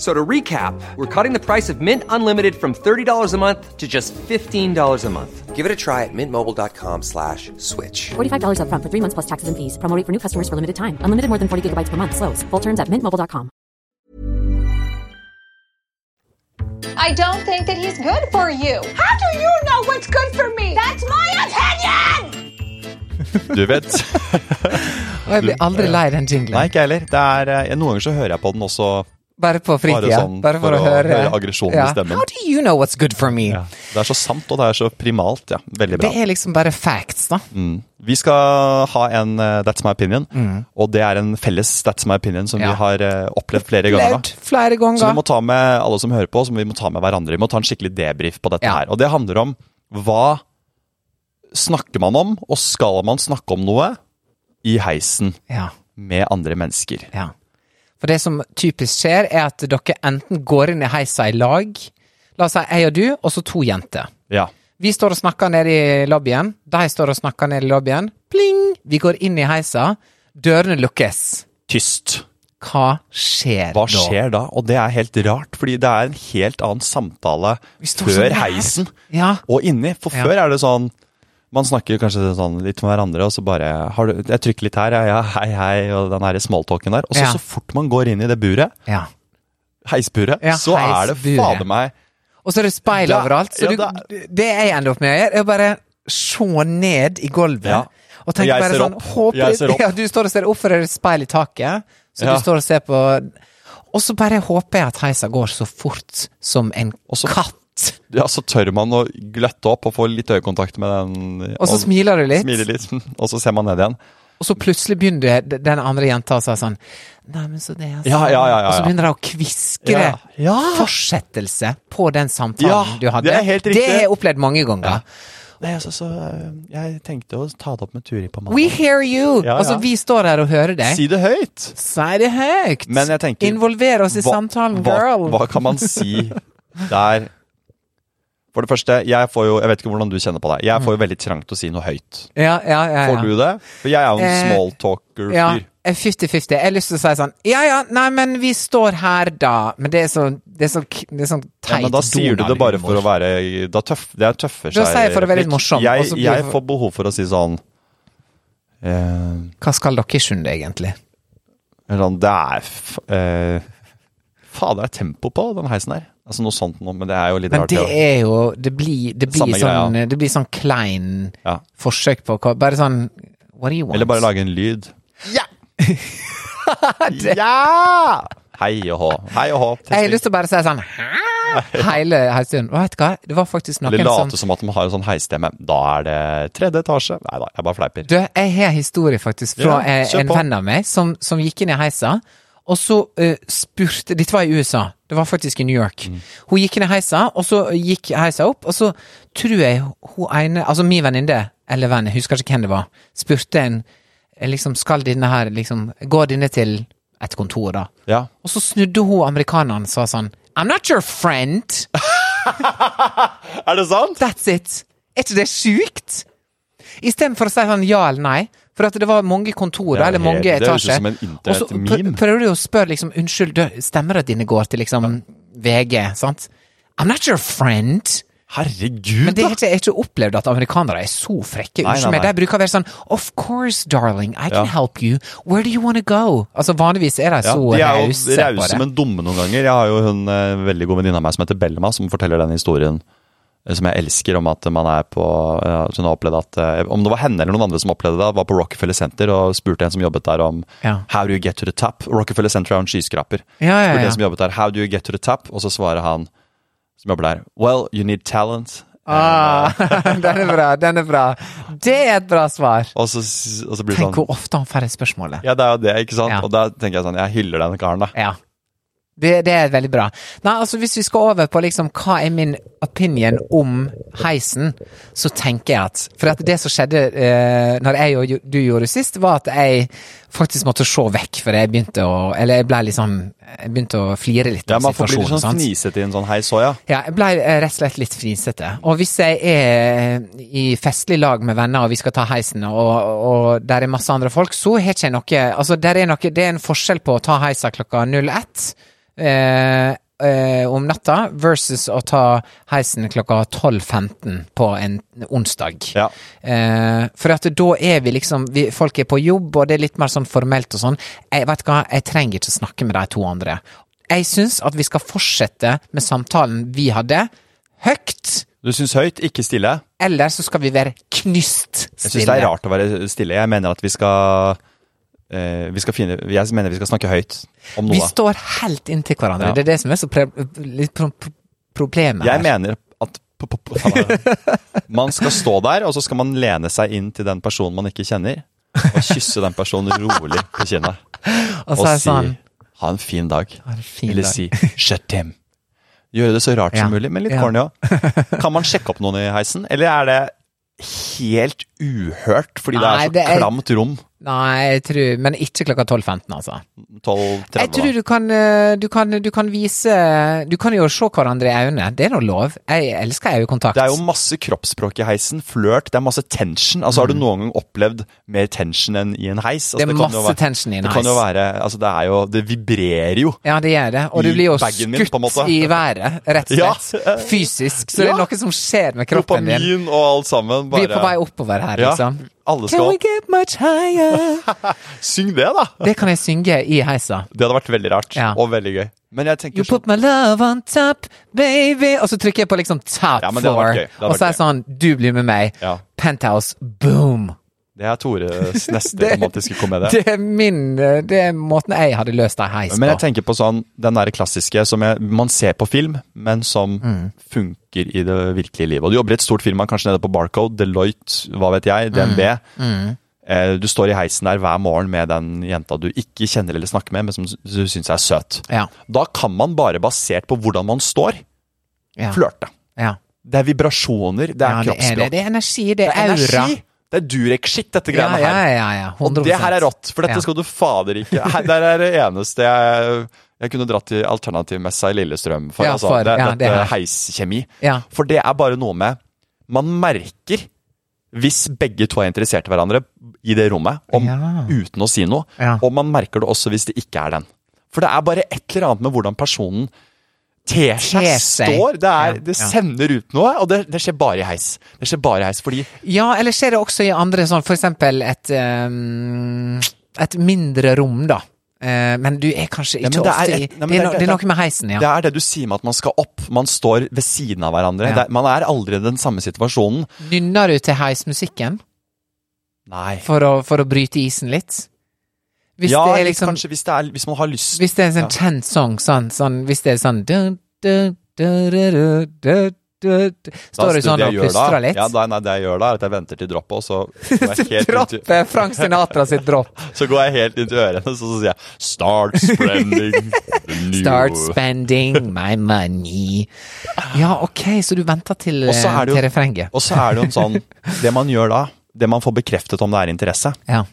S4: So to recap, we're cutting the price of Mint Unlimited from $30 a month to just $15 a month. Give it a try at mintmobile.com slash switch.
S5: $45 up front for three months plus taxes and fees. Promo rate for new customers for limited time. Unlimited more than 40 gigabytes per month. Slows. Full terms at mintmobile.com.
S6: I don't think that he's good for you. How do you know what's good for me? That's my opinion!
S3: Du vet.
S2: Og jeg blir aldri lei den jinglen.
S3: Nei, ikke jeg heller. Det er, eh, noen ganger så hører jeg på den også.
S2: Bare på fritida. Bare,
S3: sånn
S2: for, å, høre,
S3: aggresjonen i stemmen.
S2: How do you know what's good for me?
S3: Ja. Det er så sant, og det er så primalt. Ja, veldig
S2: Det
S3: bra.
S2: er liksom bare facts, da.
S3: Vi skal ha en eh, That's My Opinion, og det er en felles That's My Opinion som
S2: Mm. Ja.
S3: vi har eh, opplevd flere ganger.
S2: Levd
S3: nå.
S2: flere
S3: Så vi
S2: ganger.
S3: må ta med alle som hører på, så vi må ta med hverandre. Vi må ta en skikkelig debrief på dette
S2: Ja.
S3: her. Og det handler om hva snakker man om, og skal man snakke om noe i heisen
S2: Ja,
S3: med andre mennesker?
S2: ja. For det som typisk skjer, er at dere enten går inn i heisa i lag. La oss si jeg og du, og så to jenter.
S3: Ja.
S2: Vi står og snakker nede i lobbyen. De står og snakker nede i lobbyen. Pling! Vi går inn i heisa. Dørene lukkes.
S3: Tyst.
S2: Hva skjer
S3: Hva
S2: da?
S3: skjer da? Og det er helt rart, fordi det er en helt annen samtale
S2: står
S3: før
S2: så nær.
S3: heisen
S2: Ja.
S3: og inni. For
S2: Ja.
S3: før er det sånn man snakker kanskje sånn litt med hverandre, og så bare har du, Jeg trykker litt her, ja, ja, hei, hei, og den her smalltalken der. Og så,
S2: Ja.
S3: så fort man går inn i det buret,
S2: Ja.
S3: heisburet,
S2: Ja,
S3: så er det
S2: heisburet.
S3: fader meg
S2: Og så er det speil
S3: Det-
S2: overalt. Så
S3: ja,
S2: du, det jeg ender opp med å gjøre, er å bare se ned i gulvet.
S3: Ja.
S2: Og tenke
S3: Jeg
S2: bare
S3: ser
S2: sånn
S3: opp.
S2: håper,
S3: Jeg ser opp.
S2: Ja, du står og ser opp, for det er et speil i taket. Så
S3: Ja.
S2: du står og ser på Og så bare håper jeg at heisa går så fort som en
S3: så-
S2: katt.
S3: Ja, så tør man å gløtte opp og få litt øyekontakt med den.
S2: Og så smiler du litt.
S3: Smiler litt, og så ser man ned igjen.
S2: Og så plutselig begynner det- den andre jenta å si sånn Nei, men så det er sånn.
S3: Ja, ja, ja, ja,
S2: Og så
S3: ja.
S2: begynner de å kviskre
S3: Ja. Ja.
S2: fortsettelse på den samtalen
S3: Ja,
S2: du hadde.
S3: det er helt
S2: Det
S3: riktig.
S2: har jeg opplevd mange ganger.
S3: Nei, altså, så, eh, jeg tenkte å ta det opp med Turi på
S2: We
S3: mandag.
S2: hear you!
S3: Ja, ja.
S2: Altså, vi står her og hører deg.
S3: Si det høyt!
S2: Si det høyt!
S3: Men jeg tenker
S2: Involver oss i
S3: hva-
S2: samtalen,
S3: hva,
S2: girl!
S3: Hva kan man si der? For det første, jeg får jo Jeg vet ikke hvordan du kjenner på det. Jeg får jo veldig trang til å si noe høyt.
S2: Ja, ja, Mm. ja. ja.
S3: Får du det? For jeg er jo en
S2: Eh,
S3: smalltalker-fyr.
S2: Ja, 50-50. Jeg har lyst til å si sånn Ja ja, nei, men vi står her, da. Men det er så Det er så, det er så
S3: Ja,
S2: teit.
S3: men da sier du det bare for å være da tøff, Det er tøffer
S2: Da
S3: seg.
S2: sier jeg for å være litt
S3: replikk.
S2: morsom, og så
S3: Jeg,
S2: blir
S3: jeg
S2: det-
S3: får behov for å si sånn eh,
S2: Hva skal dere i Sunde, egentlig?
S3: sånn, Det er f- eh, Fader, det er tempo på den heisen her. Altså Noe sånt noe, men det er jo litt
S2: Men
S3: rart.
S2: det
S3: ja.
S2: er jo Det blir, det blir,
S3: Samme
S2: sånn,
S3: greia.
S2: det blir sånn klein
S3: Ja.
S2: forsøk på hva Bare sånn What do you want?
S3: Eller bare lage en lyd.
S2: Ja!
S3: Ja! Hei og hå. Hei og hå.
S2: Jeg har lyst til å bare si sånn hæ? hele heisturen. Og Vet du hva, det var faktisk
S3: Eller
S2: noen som
S3: late som at de har en sånn heisstemme. Da er det tredje etasje. Nei da, jeg bare fleiper.
S2: Du, jeg har en historie faktisk fra
S3: Ja,
S2: eh,
S3: kjør
S2: en
S3: på.
S2: venn av meg som, som gikk inn i heisa, og så eh, spurte Dette var i USA, det var faktisk i New York.
S3: Mm.
S2: Hun gikk inn i heisa, og så gikk heisa opp, og så tror jeg hun ene Altså min venninne, eller venn, jeg husker ikke hvem det var, spurte en eh, liksom Skal denne her liksom Gå denne til et kontor, da?
S3: Ja.
S2: Og så snudde hun amerikaneren og sa sånn I'm not your friend!
S3: Er det sant?
S2: That's it! Er ikke det sjukt? Istedenfor å si sånn ja eller nei. For at det var mange kontorer,
S3: Ja,
S2: eller mange
S3: det høres ut
S2: etasjer.
S3: som en
S2: Og så
S3: internettmeme.
S2: pr- prøver du å spørre liksom Unnskyld, du, stemmer at dine går til liksom VG, sant? I'm not your friend!
S3: Herregud,
S2: Men det
S3: da!
S2: har ikke, jeg har ikke opplevd at amerikanere er så frekke.
S3: Nei, nei,
S2: Unnskyld meg.
S3: nei.
S2: De bruker å være sånn Of course, darling, I
S3: Ja.
S2: can help you. Where do you wanna go? Altså vanligvis er de
S3: Ja,
S2: så
S3: de er jo
S2: rause på
S3: rause,
S2: det.
S3: men dumme noen ganger. Jeg har jo hun eh, veldig god venninne av meg som heter Belma, som forteller den historien eh, som jeg elsker, om at man er på eh, at Hun har opplevd at eh, Om det var henne eller noen andre som opplevde det, var på Rockefeller Center og spurte en som jobbet der om
S2: Ja.
S3: How do you get to the top? Rockefeller Center er jo en skyskraper.
S2: Ja, ja,
S3: Spurte
S2: ja.
S3: en som jobbet der, How do you get to the top? Og så svarer han som jobber der, Well, you need talent.
S2: Ah, den er bra, den er bra. Det er et bra svar.
S3: Og så, s- og så blir det sånn
S2: Tenk hvor ofte han får det spørsmålet.
S3: Ja, det er jo det, ikke sant?
S2: Ja.
S3: Og da tenker jeg sånn, jeg hyller den karen, da.
S2: Ja. Det, det er veldig bra. Nei, altså Hvis vi skal over på liksom hva er min opinion om heisen, så tenker jeg at For at det som skjedde eh, når jeg og jo- du gjorde det sist, var at jeg faktisk måtte se vekk, for jeg begynte å Eller jeg ble litt sånn Jeg begynte å flire litt
S3: Ja,
S2: av
S3: Man får bli litt
S2: situasjonen.
S3: sånn
S2: sant?
S3: fnisete i en sånn heis òg, ja.
S2: Ja, jeg ble eh, rett og slett litt fnisete. Og hvis jeg er i festlig lag med venner, og vi skal ta heisen, og, og der er masse andre folk, så har ikke jeg noe Altså, der er noe, det er en forskjell på å ta heisa klokka 01 eh, eh, om natta versus å ta heisen klokka 12.15 på en onsdag.
S3: Ja.
S2: Eh, for at da er vi liksom vi, Folk er på jobb, og det er litt mer sånn formelt og sånn. Jeg vet hva, jeg trenger ikke snakke med de to andre. Jeg syns at vi skal fortsette med samtalen vi hadde, høyt.
S3: Du syns høyt, ikke stille.
S2: Eller så skal vi være knust
S3: Jeg syns det er
S2: stille.
S3: rart å være stille. Jeg mener at vi skal eh, vi skal finne, Jeg mener vi skal snakke høyt om
S2: Vi
S3: noe.
S2: står helt inntil hverandre.
S3: Ja.
S2: Det er det som er så pre litt pro pro problemet. her.
S3: Jeg mener at p- p- p- faen, eh, man skal stå der, og så skal man lene seg inn til den personen man ikke kjenner, og kysse den personen rolig på kinnet.
S2: og
S3: Og
S2: så er det
S3: si
S2: sånn
S3: 'ha en fin dag'.
S2: en fin
S3: Eller
S2: dag.
S3: si 'shut him'. Gjøre det så rart som
S2: Ja.
S3: mulig, men litt
S2: Ja.
S3: corny òg. Kan man sjekke opp noen i heisen, eller er det helt uhørt fordi
S2: Nei,
S3: det
S2: det
S3: er så
S2: er-
S3: klamt rom?
S2: Nei, jeg tror Men ikke klokka 12.15, altså.
S3: 12.30
S2: Jeg
S3: da.
S2: tror du kan, eh, du kan, du kan vise Du kan jo se hverandre i øynene. Det er nå lov. Jeg elsker øyekontakt.
S3: Det er jo masse kroppsspråk i heisen, flørt, det er masse tension. Altså, Har du noen gang opplevd mer tension enn i en heis? Altså,
S2: Mm. Det er
S3: kan jo
S2: masse
S3: være-
S2: tension i en
S3: Det kan
S2: heis.
S3: jo være, altså det er jo, det vibrerer jo.
S2: Ja, det gjør det. Og du
S3: I
S2: blir jo
S3: baggen min, på en
S2: skutt
S3: måte.
S2: i været, rett og
S3: Ja.
S2: slett. Fysisk. Så det
S3: Ja.
S2: er noe som skjer med kroppen din.
S3: Dopamin og alt sammen. Bare,
S2: Vi er på vei oppover her,
S3: Ja,
S2: liksom.
S3: alle
S2: Can
S3: skal
S2: we
S3: opp.
S2: get much higher?
S3: Syng det, da!
S2: Det kan jeg synge i heisa.
S3: Det hadde vært veldig rart,
S2: Ja.
S3: og veldig gøy. Men jeg tenker
S2: You
S3: sånn,
S2: put my love on top, baby Og så trykker jeg på liksom top
S3: Ja, men det hadde vært
S2: floor.
S3: gøy. Det hadde
S2: Og så er
S3: vært
S2: det sånn Du blir med meg.
S3: Ja.
S2: Penthouse. Boom.
S3: det er Tores neste
S2: Det-
S3: romantiske komedie.
S2: Det er min eh, Det er måten jeg hadde løst ei heis
S3: Men
S2: på.
S3: jeg tenker på sånn, den der klassiske som jeg, man ser på film, men som
S2: Mm.
S3: funker i det virkelige livet. Og du jobber i et stort firma, kanskje nede på Barcode, Deloitte, hva vet
S2: Mm.
S3: jeg, DNB. Eh, Du står i heisen der hver morgen med den jenta du ikke kjenner eller snakker med, men som du syns er søt.
S2: Ja.
S3: Da kan man bare, basert på hvordan man står,
S2: Ja.
S3: flørte.
S2: Ja.
S3: Det er vibrasjoner, det
S2: Ja,
S3: er
S2: det er det.
S3: kroppsspråk.
S2: Det er energi, det
S3: Det
S2: er
S3: er
S2: aura.
S3: energi. Det er durek-shit, dette
S2: Ja,
S3: greiene
S2: ja,
S3: her.
S2: ja, ja.
S3: Og det her er
S2: 100%.
S3: rått, for dette
S2: Ja.
S3: skal du fader ikke Her, Der er det eneste jeg, jeg kunne dratt til alternativmessa i Lillestrøm for.
S2: Ja,
S3: altså,
S2: for,
S3: det,
S2: ja, det
S3: dette
S2: her.
S3: heiskjemi.
S2: Ja.
S3: For det er bare noe med Man merker hvis begge to er interessert i hverandre i det rommet, om,
S2: Ja.
S3: uten å si noe.
S2: Ja.
S3: Og man merker det også hvis det ikke er den. For det er bare et eller annet med hvordan personen ter seg,
S2: Ter seg.
S3: står. Det, er,
S2: Ja,
S3: det
S2: ja.
S3: sender ut noe, og det, det skjer bare i heis. Det skjer bare i heis, fordi
S2: Ja, eller skjer det også i andre sånn, for eksempel et, ehm, et mindre rom, da. Eh, men du er kanskje
S3: Ja,
S2: ikke
S3: men det er
S2: ofte i
S3: et-
S2: det,
S3: Nei, men
S2: er
S3: det-
S2: no,
S3: det-
S2: det er
S3: det-
S2: noe med heisen, ja.
S3: Det er det du sier med at man skal opp. Man står ved siden av hverandre.
S2: Ja.
S3: Det er- man er aldri i den samme situasjonen.
S2: Nynner du til heismusikken
S3: Nei.
S2: for å, for å bryte isen litt? Hvis
S3: ja,
S2: det er
S3: eller
S2: liksom
S3: kanskje hvis, det er, hvis man har lyst
S2: Hvis det er en sånn kjent sang, sånn, sånn Hvis det er sånn dun, dun, dun, dun, dun, dun, dun, dun.
S3: Da-
S2: Står du
S3: det-
S2: sånn
S3: det jeg
S2: og
S3: gjør da-
S2: plystrer litt?
S3: Ja, da, nei, det jeg gjør da, er at jeg venter til droppet, og så går jeg helt, inn til-
S2: Droppet Frank Sinatra sitt dropp.
S3: så går jeg helt inn til ørene, så, så sier jeg Start spreading the
S2: Start
S3: news».
S2: spending my money. Ja, ok, så du venter til,
S3: Og så
S2: eh,
S3: er det jo-
S2: til refrenget.
S3: Og så er det jo en sånn Det man gjør da, det man får bekreftet om det er interesse,
S2: Ja.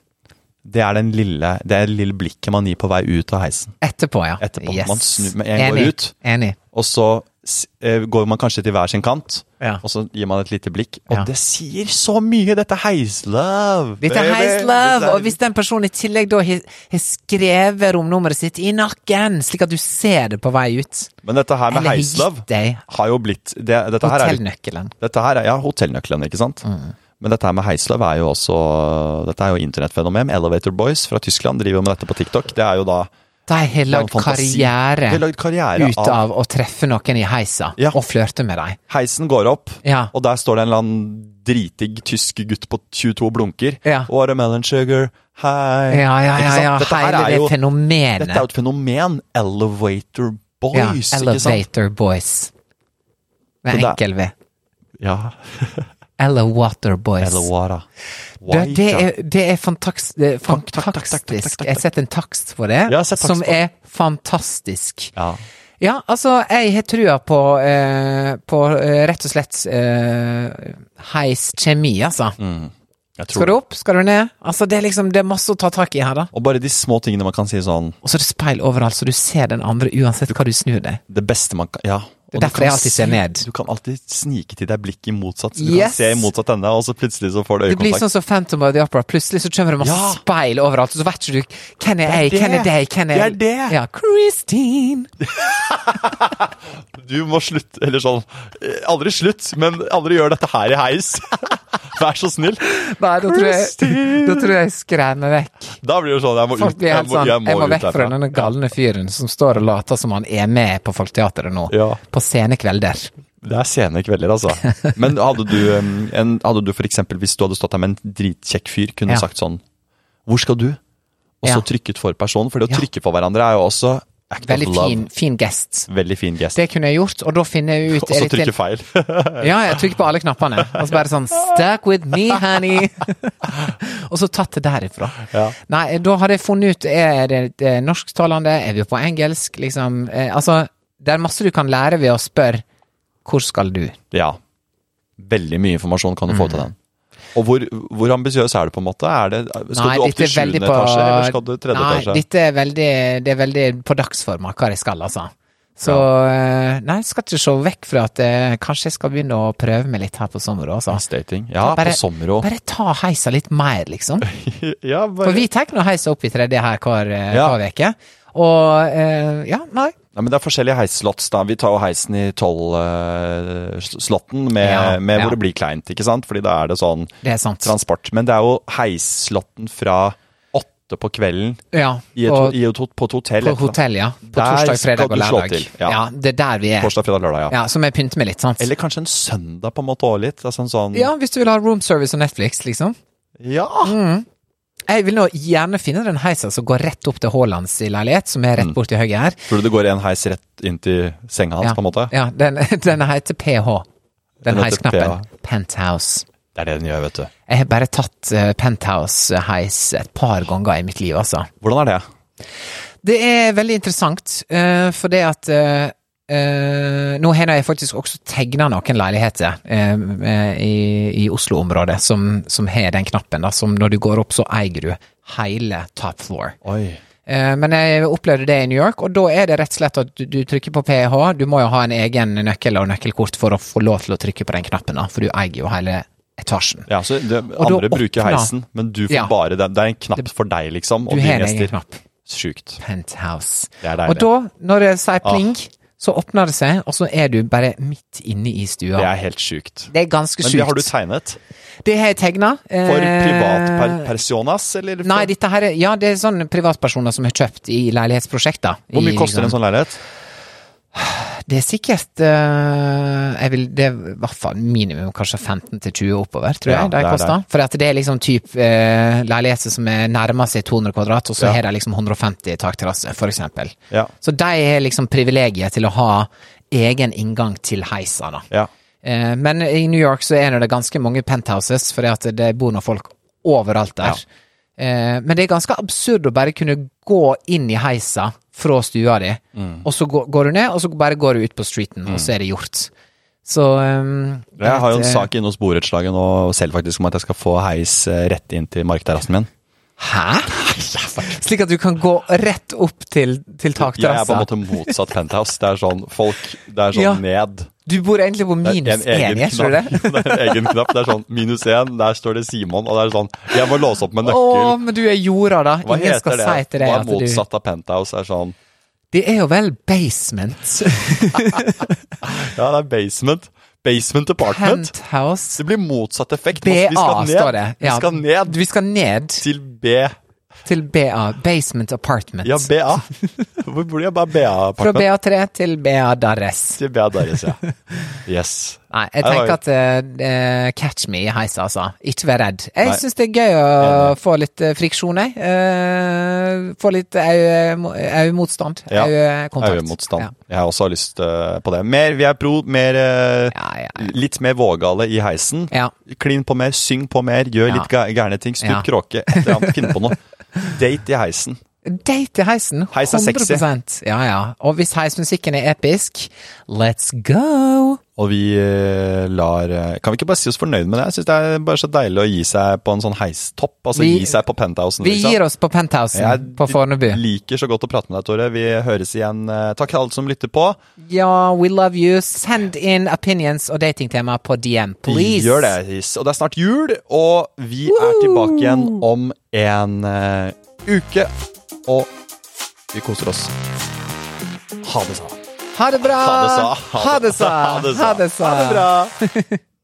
S3: det er den lille, det er det lille blikket man gir på vei ut av heisen.
S2: Etterpå, ja.
S3: Etterpå.
S2: Yes.
S3: Man snur med en går
S2: Enig.
S3: ut.
S2: Enig.
S3: Og så s- eh, går man kanskje til hver sin kant,
S2: Ja.
S3: og så gir man et lite blikk. Og
S2: Ja.
S3: det sier så mye, dette heislove!
S2: Dette
S3: baby!
S2: er heis love,
S3: Dette er-
S2: og hvis den personen i tillegg da har har skrevet romnummeret sitt i nakken, slik at du ser det på vei ut
S3: Men dette her med
S2: Eller gitt
S3: heislove
S2: deg
S3: har jo blitt det, dette her er jo-
S2: Hotellnøkkelen.
S3: Dette her er, ja, hotellnøkkelen, ikke sant?
S2: Mm.
S3: Men dette her med heisløv er jo også Dette er jo internettfenomen. Elevator Boys fra Tyskland driver jo med dette på TikTok. Det er jo da
S2: De har
S3: det er en
S2: lagd
S3: fantasi.
S2: karriere,
S3: De har lagd karriere
S2: ut av å treffe noen i heisa
S3: Ja.
S2: og flørte med dem.
S3: Heisen går opp,
S2: Ja.
S3: og der står det en eller annen dritig tysk gutt på 22 blunker.
S2: Ja.
S3: Watermelon sugar, hei
S2: Ja, ja,
S3: Ikke
S2: ja,
S3: sant?
S2: ja.
S3: Dette her
S2: Hele
S3: er
S2: det
S3: jo-
S2: fenomenet.
S3: Dette er jo et fenomen. Elevator Boys,
S2: ja,
S3: ikke sant?
S2: Elevator Boys. Med
S3: Så det er-
S2: enkel V.
S3: Ja,
S2: Elevator Boys.
S3: Elevara.
S2: Det, det, er, det er fantaks, det er fantastisk. Jeg har sett en takst på det,
S3: Ja, jeg har sett takst
S2: som
S3: på det.
S2: er fantastisk.
S3: ja.
S2: Ja, altså, jeg har trua på, eh, på eh, rett og slett eh, heis kjemi, altså.
S3: Mm, Jeg tror
S2: Skal du opp, skal du ned? Altså, det er liksom, det er masse å ta tak i her, da.
S3: Og bare de små tingene man kan si sånn
S2: Og så er det speil overalt, så du ser den andre uansett hva du snur deg.
S3: Det beste man kan Ja.
S2: Det
S3: og
S2: er
S3: du
S2: derfor
S3: kan
S2: jeg alltid ser
S3: sni-
S2: ned.
S3: Du kan alltid snike til deg blikket i motsatt. Du kan
S2: Yes!
S3: se i motsatt ende, og så plutselig så får du
S2: Det blir
S3: øyekontakt.
S2: sånn som Phantom of the Opera. Plutselig så kommer det masse
S3: Ja.
S2: speil overalt, og så vet ikke du hvem er jeg,
S3: Det er
S2: hvem er
S3: det.
S2: deg, hvem er
S3: Det er det.
S2: Ja, Christine!
S3: Du må slutte, eller sånn eh, Aldri slutt, men aldri gjør dette her i heis. Vær så snill.
S2: Nei, da tror jeg, da tror jeg jeg skremmer vekk.
S3: Da blir det sånn Jeg må
S2: Folk
S3: ut.
S2: blir helt sånn Jeg må
S3: ut
S2: vekk fra
S3: herfra.
S2: denne galne fyren som står og later som han er med på Folketeatret nå.
S3: Ja.
S2: På sene kvelder.
S3: Det er sene kvelder, altså. Men hadde du, eh, en, hadde du for eksempel, hvis du hadde stått der med en dritkjekk fyr, kunne
S2: Ja.
S3: sagt sånn Hvor skal du? Og så
S2: Ja.
S3: trykket for personen. For det
S2: Ja.
S3: å trykke for hverandre er jo også act
S2: Veldig
S3: of love.
S2: fin, fin gest.
S3: Veldig fin gest.
S2: Det kunne jeg gjort, og da finner jeg ut
S3: Og så
S2: er dette-
S3: trykke feil.
S2: Ja, jeg trykker på alle knappene. Og så bare sånn Stuck with me, honey! og så tatt det derifra. Nei, da hadde jeg funnet ut Er det, det norsktalende? Er vi på engelsk? Liksom eh, Altså, det er masse du kan lære ved å spørre Hvor skal du?
S3: Ja. Veldig mye informasjon kan du
S2: Mm.
S3: få til den. Og hvor, hvor ambisiøs er du, på en måte? Er det, skal du opp til sjuende etasje, eller skal du tredje
S2: Nei,
S3: etasje?
S2: dette er veldig Det er veldig på dagsforma hva jeg skal, altså. Så eh, Nei, jeg skal ikke se vekk fra at eh, kanskje jeg skal begynne å prøve meg litt her på sommeren også. altså.
S3: Fast dating. Ja,
S2: Bare-
S3: på Sommero.
S2: Bare ta heisa litt mer, liksom.
S3: Ja, bare-
S2: For vi tar nå heisa opp i tredje her hver eh,
S3: Ja.
S2: hver uke. Og eh, ja, nei.
S3: Nei, men det er forskjellige heisslots, da. Vi tar jo heisen i tolvslotten med,
S2: Ja,
S3: med
S2: ja.
S3: hvor det blir kleint, ikke sant? Fordi da er det sånn
S2: Det er sant.
S3: transport. Men det er jo heisslotten fra åtte på kvelden
S2: Ja,
S3: i et,
S2: og
S3: i et, hot- på et hotell.
S2: på
S3: et-
S2: hotell, ja. På
S3: Der
S2: torsdag,
S3: skal
S2: fredag og
S3: du slå
S2: lørdag.
S3: til,
S2: Ja.
S3: ja.
S2: det er der vi er.
S3: Torsdag, fredag, lørdag, ja.
S2: Ja, Så må jeg pynte meg litt, sant.
S3: Eller kanskje en søndag på en måte òg litt. Altså en sånn
S2: Ja, Mm. hvis du vil ha room service og Netflix, liksom.
S3: ja.
S2: Jeg vil nå gjerne finne den heisa som går rett opp til Haalands i leilighet, som
S3: Mm.
S2: er rett borti høyre her.
S3: Tror du det går en heis rett inn til senga hans,
S2: Ja,
S3: på en måte?
S2: ja den, den heter PH. Den
S3: Den heter
S2: heisknappen.
S3: PH.
S2: Penthouse.
S3: Det er det den gjør, vet du.
S2: Jeg har bare tatt eh, penthouse-heis et par ganger i mitt liv, altså.
S3: Hvordan er det?
S2: Det er veldig interessant, eh, for det at eh, eh, Nå har jeg faktisk også tegna noen leiligheter eh, eh, i, i Oslo-området som, som har den knappen, da, som når du går opp, så eier du hele top floor.
S3: Oi.
S2: Eh, Men jeg opplevde det i New York, og da er det rett og slett at du, du trykker på PH. Du må jo ha en egen nøkkel og nøkkelkort for å få lov til å trykke på den knappen, da, for du eier jo hele etasjen.
S3: Ja, så det,
S2: da
S3: andre bruker
S2: åpna-
S3: heisen, men du får
S2: Ja.
S3: bare den. Det er en knapp for deg, liksom, og
S2: Du
S3: dine
S2: har en egen
S3: gjester.
S2: knapp.
S3: Sjukt.
S2: Penthouse.
S3: Det er deilig. Ah.
S2: Og da, når det sier pling, så åpner det seg, og så er du bare midt inne i stua.
S3: Det er helt sjukt.
S2: Det er ganske
S3: Men
S2: sjukt.
S3: det har du tegnet?
S2: Det har jeg tegna.
S3: For privatpersonas, eller? For,
S2: Nei, dette her er, ja, det er
S3: sånn
S2: sånne privatpersoner som har kjøpt i leilighetsprosjekter.
S3: Hvor mye koster en sånn leilighet?
S2: Det er sikkert eh, jeg vil, Det er i hvert fall minimum kanskje 15-20 oppover, tror jeg.
S3: Ja, det
S2: det
S3: er
S2: koster.
S3: det.
S2: For at det er liksom typ eh, leiligheter som er nærmer seg 200 kvadrat, og så har de liksom 150 i takterrasse, for eksempel.
S3: Ja.
S2: Så de har liksom privilegiet til å ha egen inngang til heisa, da.
S3: Ja.
S2: Eh, Men i New York så er det ganske mange penthouses, fordi at det bor nå folk overalt der. Eh, Men det er ganske absurd å bare kunne gå inn i heisa fra stua di,
S3: Mm.
S2: og så går, går du ned, og så bare går du ut på streeten, og så er det gjort. Så um,
S3: Jeg har jo en
S2: et, eh,
S3: sak inne hos borettslaget nå selv faktisk om at jeg skal få heis eh, rett inn til markterrassen min.
S2: eh, Hæ?! Slik at du kan gå rett opp til,
S3: Jeg er på
S2: til
S3: en
S2: takterrassa.
S3: måte motsatt penthouse. Det er sånn folk Det er sånn
S2: Ja.
S3: ned.
S2: Du bor egentlig på
S3: Det er en
S2: minus én,
S3: egen
S2: gjør ikke du det?
S3: knapp. Det er en egen knapp. Det er sånn minus én, der står det Simon, og det er sånn Jeg må låse opp med
S2: Å,
S3: nøkkel.
S2: men du er jorda, da.
S3: Hva
S2: Ingen skal
S3: heter det?
S2: si til deg
S3: Hva
S2: at
S3: er
S2: du
S3: motsatt av penthouse? Er sånn
S2: Det er jo vel basement.
S3: Ja, det er basement. Basement apartment.
S2: Penthouse.
S3: Det blir motsatt effekt.
S2: BA
S3: Vi skal ned.
S2: står det. Ja,
S3: Vi skal ned
S2: Vi skal ned
S3: til B.
S2: til BA. Basement Apartment.
S3: Ja, BA. Hvor bor jeg? Bare
S2: Fra
S3: BA-apartment.
S2: BA3 til BA Darres.
S3: Til BA deres, ja. Yes.
S2: Nei,
S3: Her
S2: jeg
S3: var
S2: tenker
S3: jo-
S2: at eh, eh, catch me i heisa, altså. Ikke vær redd. Jeg
S3: Nei.
S2: syns det er gøy å få litt eh, friksjon, jeg. Eh, få litt øyemotstand.
S3: Ja,
S2: Øyekontakt.
S3: Øyemotstand.
S2: eh, Ja.
S3: Jeg har også lyst eh, på det. Mer, vi er pro, mer eh,
S2: Ja, ja, ja.
S3: Litt mer vågale i heisen.
S2: Ja.
S3: Klin på mer, syng på mer, gjør
S2: Ja.
S3: litt ga- gærne ting. Stup
S2: Ja.
S3: kråke, et eller annet, finn på noe. Date i heisen.
S2: Date i heisen.
S3: Heis er sexy.
S2: 100 Ja, ja. Og hvis heismusikken er episk, let's go!
S3: Og vi eh, lar eh, Kan vi ikke bare si oss fornøyd med det? Jeg syns det er bare så deilig å gi seg på en sånn heistopp. Altså
S2: Vi-
S3: gi seg på penthousen.
S2: Vi
S3: liksom.
S2: gir oss på penthousen på Fornebu.
S3: Jeg liker så godt å prate med deg, Tore. Vi høres igjen. Eh, Takk til alle som lytter på.
S2: Ja, we love you. Send in opinions og datingtema på DM, please.
S3: Gjør det. His. Og det er snart jul, og vi er tilbake igjen om en eh, uke. Og vi koser oss. Ha det sånn.
S2: Ha det bra!
S3: Ha det sa.
S2: Ha det sa!
S3: Ha det sa.
S2: Ha det sa.
S3: Ha det bra.